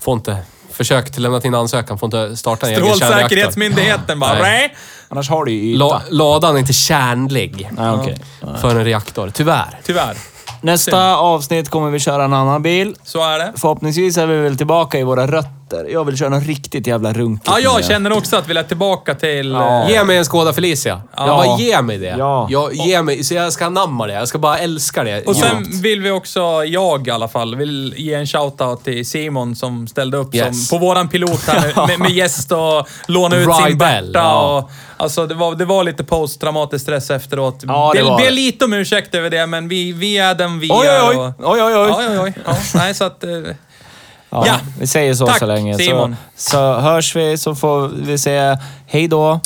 Får inte... Försök till lämna in ansökan. Får inte starta en egen kärnreaktor. Strålsäkerhetsmyndigheten bara... Nej. Nej. Annars har du ju yta. La, ladan är inte kärnlig Nej, okej. för en reaktor, tyvärr. Tyvärr. Nästa avsnitt kommer vi köra en annan bil. Så är det. Förhoppningsvis är vi väl tillbaka i våra rötter. Jag vill köra något riktigt jävla runkigt. Ja, nu jag igen. känner också att vi lät tillbaka till... eh, Ge mig en Skoda Felicia. Ja. Bara ge mig det. Ja. Jag, ge mig, så jag ska anamma det. Jag ska bara älska det. Och sen djupt. vill vi också, jag i alla fall, vill ge en shout-out till Simon som ställde upp Yes. som, på våran pilot här med, med, med gäst och låna ut sin Rydell, Berta. ja. Och, alltså det var, det var lite posttraumatisk stress efteråt. Ja, det Be- var be det. lite om ursäkt över det, men vi, vi är den vi Oj, är. oj, oj. och- Oj, oj, oj. Oj, oj, oj. Ja, nej, så att... eh, Ja, Ja. Vi säger så Tack, så länge. Simon. Så, så hörs vi så får vi säga hej då.